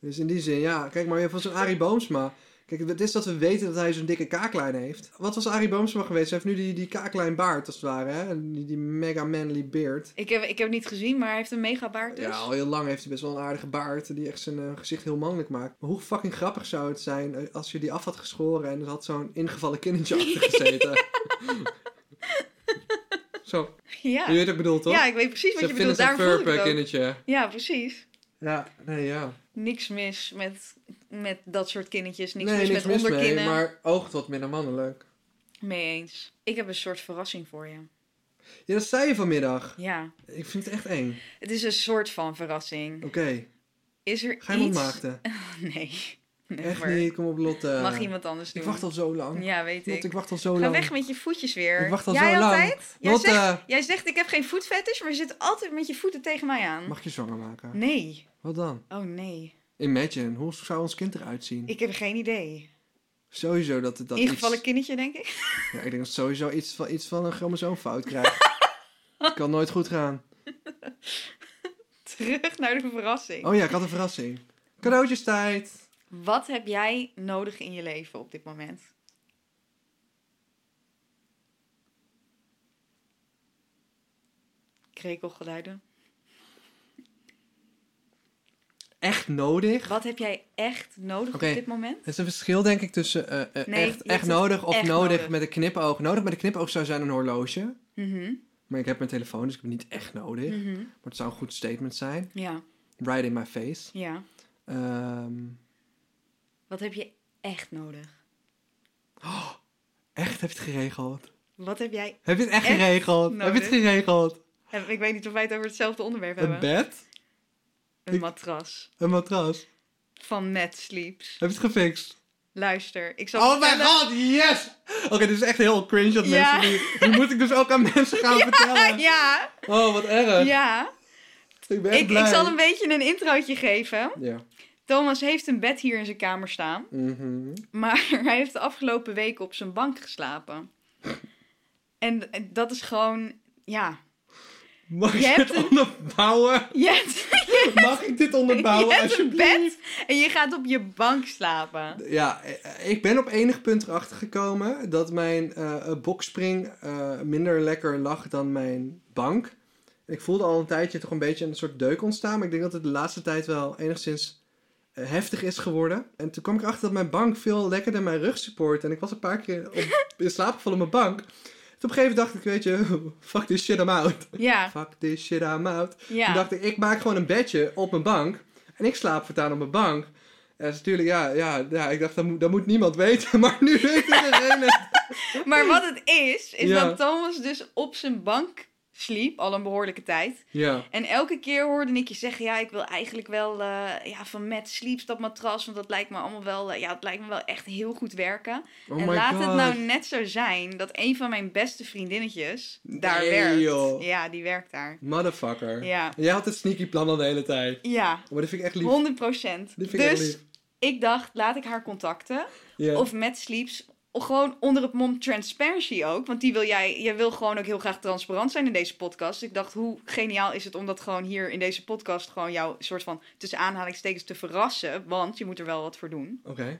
[SPEAKER 1] Dus in die zin, ja. Kijk maar even zo'n Arie Boomsma. Kijk, het is dat we weten dat hij zo'n dikke kaaklijn heeft. Wat was Arie Boomsma geweest? Hij heeft nu die, die kaaklijn baard, als het ware. Hè? En Die, die mega manly beard.
[SPEAKER 2] Ik heb, ik heb het niet gezien, maar hij heeft een mega baard dus.
[SPEAKER 1] Ja, al heel lang heeft hij best wel een aardige baard. Die echt zijn eh, gezicht heel mannelijk maakt. Maar hoe fucking grappig zou het zijn eh, als je die af had geschoren... en er had zo'n ingevallen kindertje achter gezeten. Zo,
[SPEAKER 2] Ja.
[SPEAKER 1] je weet wat ik bedoel, toch?
[SPEAKER 2] Ja, ik weet precies wat
[SPEAKER 1] Ze
[SPEAKER 2] je
[SPEAKER 1] vinden
[SPEAKER 2] bedoelt.
[SPEAKER 1] zo'n
[SPEAKER 2] Daarom voel ik het
[SPEAKER 1] furp
[SPEAKER 2] ook.
[SPEAKER 1] kindertje.
[SPEAKER 2] Ja, precies.
[SPEAKER 1] Ja, nee, ja.
[SPEAKER 2] Niks mis met, met dat soort kindertjes. Niks
[SPEAKER 1] nee,
[SPEAKER 2] mis met onderkinnen.
[SPEAKER 1] mee, maar oogt wat minder mannelijk.
[SPEAKER 2] Mee eens. Ik heb een soort verrassing voor je.
[SPEAKER 1] Ja, dat zei je vanmiddag.
[SPEAKER 2] Ja.
[SPEAKER 1] Ik vind het echt eng.
[SPEAKER 2] Het is een soort van verrassing.
[SPEAKER 1] Oké,
[SPEAKER 2] Is er
[SPEAKER 1] ga je me
[SPEAKER 2] iets...
[SPEAKER 1] ontmaagden?
[SPEAKER 2] Nee.
[SPEAKER 1] Echt
[SPEAKER 2] Never.
[SPEAKER 1] niet, kom op Lotte.
[SPEAKER 2] Mag iemand anders doen.
[SPEAKER 1] Ik wacht al zo lang.
[SPEAKER 2] Ja, weet
[SPEAKER 1] Lotte,
[SPEAKER 2] ik.
[SPEAKER 1] ik wacht al zo
[SPEAKER 2] Ga
[SPEAKER 1] lang.
[SPEAKER 2] weg met je voetjes weer.
[SPEAKER 1] Ik wacht al
[SPEAKER 2] Jij
[SPEAKER 1] zo lang.
[SPEAKER 2] altijd? Jij
[SPEAKER 1] Lotte.
[SPEAKER 2] zegt, jij zegt ik heb geen voetfetish, maar je zit altijd met je voeten tegen mij aan.
[SPEAKER 1] Mag je zwanger maken?
[SPEAKER 2] Nee.
[SPEAKER 1] Wat dan?
[SPEAKER 2] Oh nee.
[SPEAKER 1] Imagine, hoe zou ons kind eruit zien?
[SPEAKER 2] Ik heb geen idee.
[SPEAKER 1] Sowieso dat het dat
[SPEAKER 2] Ingevallen
[SPEAKER 1] iets...
[SPEAKER 2] kindertje, denk ik.
[SPEAKER 1] Ja, ik denk dat sowieso iets van, iets van een chromosoomfout krijgt. Het kan nooit goed gaan.
[SPEAKER 2] Terug naar de verrassing.
[SPEAKER 1] Oh ja, ik had een verrassing. Cadeautjes tijd.
[SPEAKER 2] Wat heb jij nodig in je leven op dit moment? Krekelgeluiden.
[SPEAKER 1] Echt nodig.
[SPEAKER 2] Wat heb jij echt nodig
[SPEAKER 1] Oké.
[SPEAKER 2] op dit moment?
[SPEAKER 1] Het is een verschil, denk ik, tussen eh, eh,
[SPEAKER 2] Nee,
[SPEAKER 1] echt,
[SPEAKER 2] je hebt
[SPEAKER 1] echt
[SPEAKER 2] het
[SPEAKER 1] nodig of
[SPEAKER 2] echt
[SPEAKER 1] nodig,
[SPEAKER 2] nodig.
[SPEAKER 1] met een knipoog. Nodig met een knipoog zou zijn een horloge.
[SPEAKER 2] Mhm,
[SPEAKER 1] Maar ik heb mijn telefoon, dus ik heb het niet echt nodig.
[SPEAKER 2] mhm.
[SPEAKER 1] Maar het zou een goed statement zijn.
[SPEAKER 2] Ja,
[SPEAKER 1] Right in my face.
[SPEAKER 2] ja.
[SPEAKER 1] Ehm,
[SPEAKER 2] Wat heb je echt nodig?
[SPEAKER 1] echt, heb je het geregeld?
[SPEAKER 2] Wat heb jij...
[SPEAKER 1] Heb je het echt,
[SPEAKER 2] Echt
[SPEAKER 1] geregeld? Heb je het
[SPEAKER 2] nodig?
[SPEAKER 1] geregeld?
[SPEAKER 2] Heb- Ik weet niet of wij het over hetzelfde onderwerp
[SPEAKER 1] Een
[SPEAKER 2] hebben.
[SPEAKER 1] bed?
[SPEAKER 2] Een matras.
[SPEAKER 1] Een matras?
[SPEAKER 2] Van Mad Sleeps.
[SPEAKER 1] Heb je het gefixt?
[SPEAKER 2] Luister, ik zal
[SPEAKER 1] Oh mijn
[SPEAKER 2] vertellen-
[SPEAKER 1] god, yes! Oké, dit is echt heel cringe dat
[SPEAKER 2] Ja.
[SPEAKER 1] mensen nu... Nu moet ik dus ook aan mensen gaan vertellen.
[SPEAKER 2] Ja,
[SPEAKER 1] Oh, wat erg.
[SPEAKER 2] ja.
[SPEAKER 1] Ik ben echt
[SPEAKER 2] Ik, ik
[SPEAKER 1] blij.
[SPEAKER 2] zal een beetje een introotje geven.
[SPEAKER 1] Ja.
[SPEAKER 2] Thomas heeft een bed hier in zijn kamer staan.
[SPEAKER 1] Mhm.
[SPEAKER 2] Maar hij heeft de afgelopen weken op zijn bank geslapen. En en dat is gewoon, ja.
[SPEAKER 1] Mag
[SPEAKER 2] Je
[SPEAKER 1] ik
[SPEAKER 2] hebt
[SPEAKER 1] het onderbouwen?
[SPEAKER 2] Je hebt,
[SPEAKER 1] Mag ik dit onderbouwen
[SPEAKER 2] je hebt een
[SPEAKER 1] alsjeblieft?
[SPEAKER 2] bed en je gaat op je bank slapen.
[SPEAKER 1] Ja, eh, ik ben op enig punt erachter gekomen dat mijn eh eh, bokspring eh, minder lekker lag dan mijn bank. Ik voelde al een tijdje toch een beetje een soort deuk ontstaan, maar ik denk dat het de laatste tijd wel enigszins eh, heftig is geworden. En toen kwam ik erachter dat mijn bank veel lekkerder mijn rug support en ik was een paar keer op, in slaap gevallen op mijn bank. Toen op een gegeven moment dacht ik, weet je, fuck this shit, I'm out.
[SPEAKER 2] Ja,
[SPEAKER 1] Fuck this shit, I'm out. Toen
[SPEAKER 2] ja.
[SPEAKER 1] dacht ik, ik maak gewoon een bedje op mijn bank. En ik slaap voortaan op mijn bank. En dat is natuurlijk, ja, ja, ja, ik dacht, dat moet, dat moet niemand weten. Maar nu weet iedereen het.
[SPEAKER 2] Maar wat het is, is
[SPEAKER 1] Ja.
[SPEAKER 2] dat Thomas dus op zijn bank sliep, al een behoorlijke tijd.
[SPEAKER 1] Ja.
[SPEAKER 2] En elke keer hoorde ik je zeggen, ja, ik wil eigenlijk wel eh, ja, van Matt Sleeps dat matras, want dat lijkt me allemaal wel, eh, ja, het lijkt me wel echt heel goed werken.
[SPEAKER 1] Oh
[SPEAKER 2] en
[SPEAKER 1] my
[SPEAKER 2] laat
[SPEAKER 1] god.
[SPEAKER 2] het nou net zo zijn dat een van mijn beste vriendinnetjes daar
[SPEAKER 1] Nee,
[SPEAKER 2] werkt.
[SPEAKER 1] joh.
[SPEAKER 2] Ja, die werkt daar.
[SPEAKER 1] Motherfucker.
[SPEAKER 2] Ja,
[SPEAKER 1] Jij had het sneaky plan al de hele tijd.
[SPEAKER 2] ja,
[SPEAKER 1] Maar dat vind ik echt lief.
[SPEAKER 2] 100 procent.
[SPEAKER 1] Dit vind ik echt
[SPEAKER 2] Dus
[SPEAKER 1] lief.
[SPEAKER 2] ik dacht, laat ik haar contacten.
[SPEAKER 1] Ja.
[SPEAKER 2] Of met Sleeps. Of gewoon onder het mom transparency ook. Want die wil jij, jij wil gewoon ook heel graag transparant zijn in deze podcast. Ik dacht, hoe geniaal is het om dat gewoon hier in deze podcast gewoon jouw soort van tussen aanhalingstekens te verrassen. Want je moet er wel wat voor doen.
[SPEAKER 1] Oké.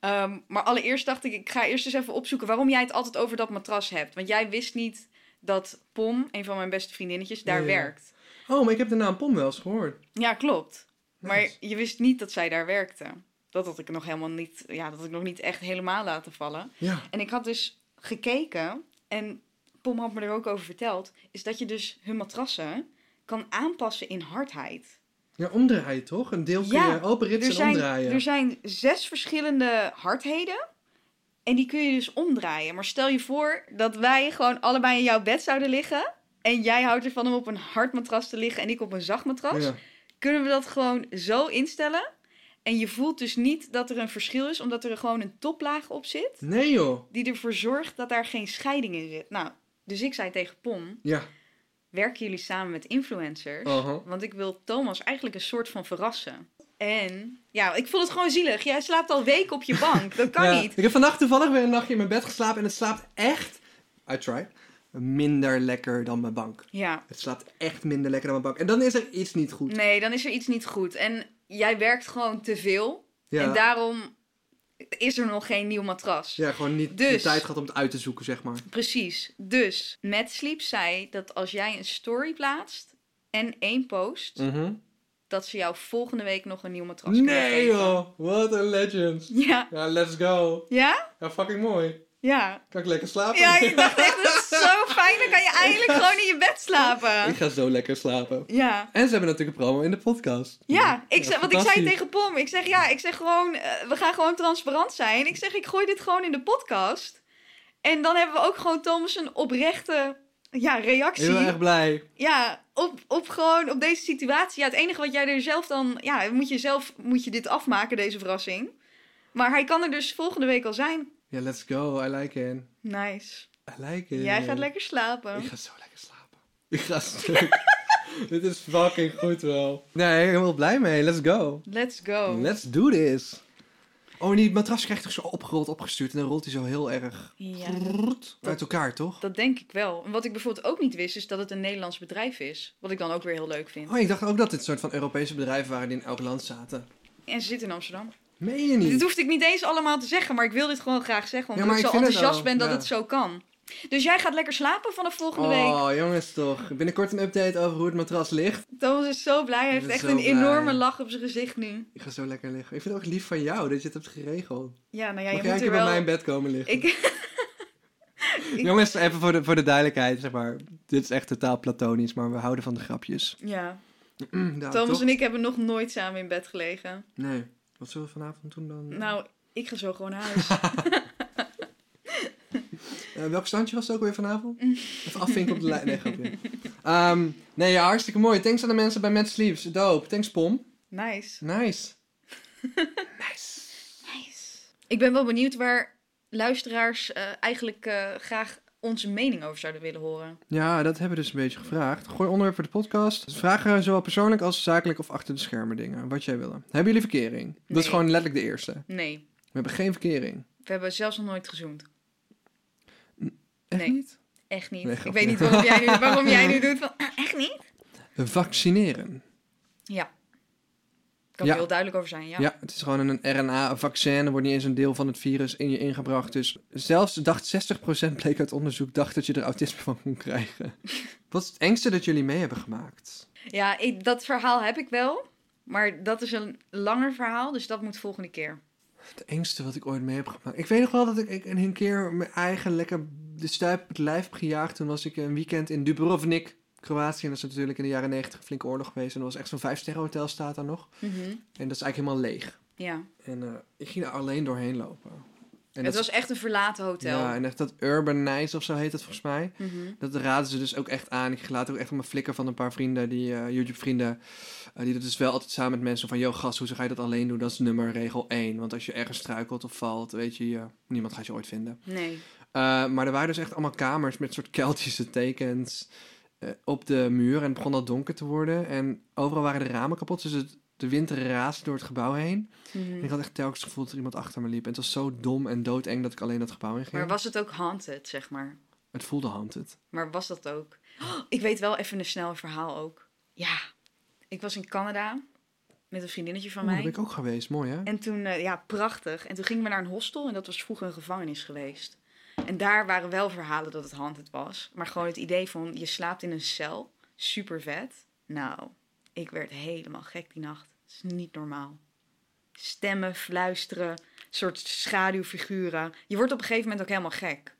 [SPEAKER 2] Ehm, maar allereerst dacht ik, ik ga eerst eens even opzoeken waarom jij het altijd over dat matras hebt. Want jij wist niet dat Pom, een van mijn beste vriendinnetjes, daar
[SPEAKER 1] Ja, ja.
[SPEAKER 2] werkt.
[SPEAKER 1] Oh, maar ik heb de naam Pom wel eens gehoord.
[SPEAKER 2] Ja, klopt. Maar
[SPEAKER 1] Nice.
[SPEAKER 2] je wist niet dat zij daar werkte. Dat had ik nog helemaal niet, ja, dat had ik nog niet echt helemaal laten vallen.
[SPEAKER 1] Ja.
[SPEAKER 2] En ik had dus gekeken, en Pom had me er ook over verteld, is dat je dus hun matrassen kan aanpassen in hardheid.
[SPEAKER 1] Ja, omdraaien toch? Een deel kun
[SPEAKER 2] Ja,
[SPEAKER 1] je openritsen
[SPEAKER 2] Er
[SPEAKER 1] en
[SPEAKER 2] zijn,
[SPEAKER 1] omdraaien.
[SPEAKER 2] er zijn zes verschillende hardheden. En die kun je dus omdraaien. Maar stel je voor dat wij gewoon allebei in jouw bed zouden liggen. En jij houdt ervan om op een hard matras te liggen en ik op een zacht matras.
[SPEAKER 1] Ja.
[SPEAKER 2] Kunnen we dat gewoon zo instellen? En je voelt dus niet dat er een verschil is, omdat er gewoon een toplaag op zit.
[SPEAKER 1] Nee joh.
[SPEAKER 2] Die ervoor zorgt dat daar geen scheiding in zit. Nou, dus ik zei tegen Pom:
[SPEAKER 1] Ja.
[SPEAKER 2] werken jullie samen met influencers?
[SPEAKER 1] Aha.
[SPEAKER 2] Want ik wil Thomas eigenlijk een soort van verrassen. En ja, ik vond het gewoon zielig. Jij slaapt al weken op je bank. Dat kan
[SPEAKER 1] Ja.
[SPEAKER 2] niet.
[SPEAKER 1] Ik heb vannacht toevallig weer een nachtje in mijn bed geslapen. En het slaapt echt, I tried, minder lekker dan mijn bank.
[SPEAKER 2] Ja,
[SPEAKER 1] Het slaapt echt minder lekker dan mijn bank. En dan is er iets niet goed.
[SPEAKER 2] nee, dan is er iets niet goed. En jij werkt gewoon te veel.
[SPEAKER 1] Ja.
[SPEAKER 2] En daarom is er nog geen nieuw matras.
[SPEAKER 1] Ja, gewoon niet de
[SPEAKER 2] Dus-
[SPEAKER 1] tijd gaat om het uit te zoeken, zeg maar.
[SPEAKER 2] Precies. Dus met Sleep zei dat als jij een story plaatst en één post,
[SPEAKER 1] Mm. Mhm.
[SPEAKER 2] dat ze jou volgende week nog een nieuw matras kunnen
[SPEAKER 1] Nee
[SPEAKER 2] geven.
[SPEAKER 1] joh, wat een legend.
[SPEAKER 2] Ja.
[SPEAKER 1] Ja, let's go.
[SPEAKER 2] Ja?
[SPEAKER 1] Ja, fucking mooi.
[SPEAKER 2] Ja.
[SPEAKER 1] Kan ik lekker slapen?
[SPEAKER 2] Ja, ik dacht echt, dat is zo fijn. Dan kan je eindelijk gewoon in je bed slapen.
[SPEAKER 1] Ik ga zo lekker slapen.
[SPEAKER 2] Ja.
[SPEAKER 1] En ze hebben natuurlijk een promo in de podcast.
[SPEAKER 2] Ja, ik
[SPEAKER 1] Ja,
[SPEAKER 2] zei, want ik zei
[SPEAKER 1] fantastisch.
[SPEAKER 2] tegen Pom, ik zeg ja, ik zeg gewoon, eh, we gaan gewoon transparant zijn. Ik zeg, ik gooi dit gewoon in de podcast. En dan hebben we ook gewoon Thomas een oprechte ja, reactie.
[SPEAKER 1] Heel erg blij.
[SPEAKER 2] Ja, op, op gewoon op deze situatie. Ja, het enige wat jij er zelf dan, ja, moet je zelf moet je dit afmaken, deze verrassing. Maar hij kan er dus volgende week al zijn.
[SPEAKER 1] Ja, let's go. I like it.
[SPEAKER 2] Nice.
[SPEAKER 1] I like it.
[SPEAKER 2] Jij gaat lekker slapen.
[SPEAKER 1] Eh, Ik ga zo lekker slapen. Ik ga stuk. Dit is fucking goed wel. Nee, helemaal blij mee. Let's go.
[SPEAKER 2] Let's go.
[SPEAKER 1] Let's do this. Oh, en die matras krijgt toch zo opgerold, opgestuurd. En dan rolt hij zo heel erg
[SPEAKER 2] Ja,
[SPEAKER 1] prrrt uit elkaar, toch?
[SPEAKER 2] dat denk ik wel. En wat ik bijvoorbeeld ook niet wist, is dat het een Nederlands bedrijf is. Wat ik dan ook weer heel leuk vind.
[SPEAKER 1] Oh, ik dacht ook dat dit soort van Europese bedrijven waren die in elk land zaten.
[SPEAKER 2] En ze zitten in Amsterdam.
[SPEAKER 1] Meen je
[SPEAKER 2] Dit
[SPEAKER 1] niet?
[SPEAKER 2] hoefde ik niet eens allemaal te zeggen, maar ik wil dit gewoon graag zeggen.
[SPEAKER 1] Ja,
[SPEAKER 2] Omdat
[SPEAKER 1] maar
[SPEAKER 2] ik
[SPEAKER 1] ik
[SPEAKER 2] zo
[SPEAKER 1] vind het
[SPEAKER 2] enthousiast
[SPEAKER 1] al,
[SPEAKER 2] ben dat
[SPEAKER 1] ja.
[SPEAKER 2] het zo kan. Dus jij gaat lekker slapen vanaf volgende week.
[SPEAKER 1] Oh, jongens toch. Binnenkort een update over hoe het matras ligt.
[SPEAKER 2] Thomas is zo blij. Hij heeft
[SPEAKER 1] Ik ben
[SPEAKER 2] echt
[SPEAKER 1] zo
[SPEAKER 2] een
[SPEAKER 1] blij.
[SPEAKER 2] enorme lach op zijn gezicht nu.
[SPEAKER 1] Ik ga zo lekker liggen. Ik vind het ook lief van jou dat je het hebt geregeld.
[SPEAKER 2] Ja, nou
[SPEAKER 1] Mag
[SPEAKER 2] ja, je
[SPEAKER 1] jij een
[SPEAKER 2] moet
[SPEAKER 1] keer
[SPEAKER 2] er
[SPEAKER 1] bij
[SPEAKER 2] wel...
[SPEAKER 1] mij in bed komen liggen?
[SPEAKER 2] ik,
[SPEAKER 1] Jongens, even voor de, voor de duidelijkheid, zeg maar. Dit is echt totaal platonisch, maar we houden van de grapjes.
[SPEAKER 2] ja.
[SPEAKER 1] Ja,
[SPEAKER 2] Thomas
[SPEAKER 1] Mm, toch?
[SPEAKER 2] en ik hebben nog nooit samen in bed gelegen.
[SPEAKER 1] Nee. Wat zullen we vanavond doen dan?
[SPEAKER 2] Nou, ik ga zo gewoon naar huis.
[SPEAKER 1] Eh, welk standje was het ook weer vanavond?
[SPEAKER 2] Mm.
[SPEAKER 1] Even afvinken op de lijn. Nee, grapje. Ehm, nee, ja, hartstikke mooi. Thanks aan de mensen bij Mad Sleeps. Dope. Thanks, Pom.
[SPEAKER 2] nice.
[SPEAKER 1] Nice. nice.
[SPEAKER 2] Nice. Ik ben wel benieuwd waar luisteraars eh, eigenlijk eh, graag onze mening over zouden willen horen.
[SPEAKER 1] Ja, dat hebben we dus een beetje gevraagd. Gooi onderwerp voor de podcast. Dus Vragen zowel persoonlijk als zakelijk of achter de schermen dingen. Wat jij wil. Hebben jullie verkering? Dat is
[SPEAKER 2] Nee.
[SPEAKER 1] gewoon letterlijk de eerste. We
[SPEAKER 2] Nee,
[SPEAKER 1] hebben geen verkering.
[SPEAKER 2] we hebben zelfs nog nooit gezoend.
[SPEAKER 1] Echt
[SPEAKER 2] Nee.
[SPEAKER 1] niet?
[SPEAKER 2] Echt niet.
[SPEAKER 1] Nee,
[SPEAKER 2] ik
[SPEAKER 1] grapje.
[SPEAKER 2] weet niet waarom jij nu, waarom jij nu doet van, "Ah, echt niet?
[SPEAKER 1] Vaccineren.
[SPEAKER 2] Ja. Kan
[SPEAKER 1] Ja.
[SPEAKER 2] er heel duidelijk over zijn, ja.
[SPEAKER 1] Ja. het is gewoon een RNA-vaccin. Er wordt niet eens een deel van het virus in je ingebracht. Dus zelfs dacht 60% bleek uit onderzoek dacht dat je er autisme van kon krijgen. Wat is het engste dat jullie mee hebben gemaakt?
[SPEAKER 2] Ja, ik, dat verhaal heb ik wel. Maar dat is een langer verhaal, dus dat moet volgende keer.
[SPEAKER 1] Het engste wat ik ooit mee heb gemaakt. Ik weet nog wel dat ik, ik een keer mijn eigen lekker de stuip op het lijf heb gejaagd. Toen was ik een weekend in Dubrovnik, Kroatië. En dat is natuurlijk in de jaren 90 een flinke oorlog geweest. En er was echt zo'n vijfsterren hotel staat daar nog. En dat is eigenlijk helemaal leeg.
[SPEAKER 2] Ja.
[SPEAKER 1] Mhm. En eh, ik ging daar alleen doorheen lopen. En
[SPEAKER 2] het
[SPEAKER 1] dat-
[SPEAKER 2] was echt een verlaten hotel.
[SPEAKER 1] Ja, en echt dat Urban Nice of zo heet dat volgens mij.
[SPEAKER 2] Mhm.
[SPEAKER 1] Dat raden ze dus ook echt aan. Ik laat ook echt op mijn flikker van een paar vrienden, die eh, YouTube-vrienden, eh, die dat dus wel altijd samen met mensen van, yo gast, hoe ga je dat alleen doen? Dat is nummer regel 1. Want als je ergens struikelt of valt, weet je, eh, niemand gaat je ooit vinden.
[SPEAKER 2] Nee.
[SPEAKER 1] Eh, maar er waren dus echt allemaal kamers met soort Keltische tekens eh, op de muur en het begon al donker te worden. En overal waren de ramen kapot, dus het, de wind raasde door het gebouw heen. En
[SPEAKER 2] Mhm.
[SPEAKER 1] ik had echt telkens het gevoel dat er iemand achter me liep. En het was zo dom en doodeng dat ik alleen dat gebouw in ging.
[SPEAKER 2] Maar was het ook haunted, zeg maar?
[SPEAKER 1] Het voelde haunted.
[SPEAKER 2] Maar was dat ook? Oh, ik weet wel even een snel verhaal ook. Ja. Ik was in Canada met een vriendinnetje van
[SPEAKER 1] Oeh, daar
[SPEAKER 2] mij.
[SPEAKER 1] ben ik ook geweest. Mooi, hè?
[SPEAKER 2] En toen, eh, ja, prachtig. En toen gingen we naar een hostel en dat was vroeger een gevangenis geweest. En daar waren wel verhalen dat het handed was. Maar gewoon het idee van je slaapt in een cel, super vet. Nou, ik werd helemaal gek die nacht. Het is niet normaal. Stemmen, fluisteren, soort schaduwfiguren. Je wordt op een gegeven moment ook helemaal gek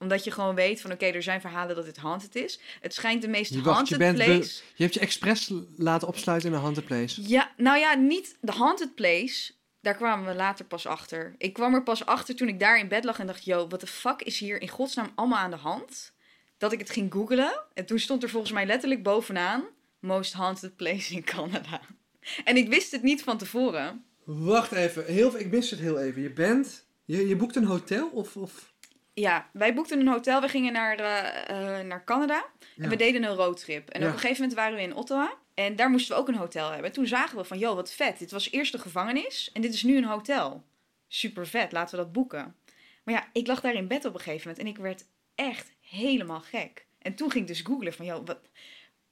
[SPEAKER 2] omdat je gewoon weet van oké, er zijn verhalen dat het haunted is. Het schijnt de meest
[SPEAKER 1] Je
[SPEAKER 2] haunted
[SPEAKER 1] wacht, je bent...
[SPEAKER 2] place.
[SPEAKER 1] be- je hebt je expres l- laten opsluiten in een haunted place.
[SPEAKER 2] Ja, nou ja, niet de Haunted Place. Daar kwamen we later pas achter. Ik kwam er pas achter toen ik daar in bed lag en dacht... Yo, wat de fuck is hier in godsnaam allemaal aan de hand? Dat ik het ging googlen. En toen stond er volgens mij letterlijk bovenaan... Most Haunted Place in Canada. En ik wist het niet van tevoren.
[SPEAKER 1] Wacht even. Heel, ik mis het heel even. Je bent... Je, je boekt een hotel of... of...
[SPEAKER 2] Ja, wij boekten een hotel. We gingen naar, eh, eh, naar Canada. En
[SPEAKER 1] Ja.
[SPEAKER 2] we deden een roadtrip. En
[SPEAKER 1] Ja.
[SPEAKER 2] op een gegeven moment waren we in Ottawa. En daar moesten we ook een hotel hebben. En toen zagen we van, joh, wat vet. Dit was eerst een gevangenis. En dit is nu een hotel. Super vet, laten we dat boeken. Maar ja, ik lag daar in bed op een gegeven moment. En ik werd echt helemaal gek. En toen ging ik dus googlen van, joh, wat...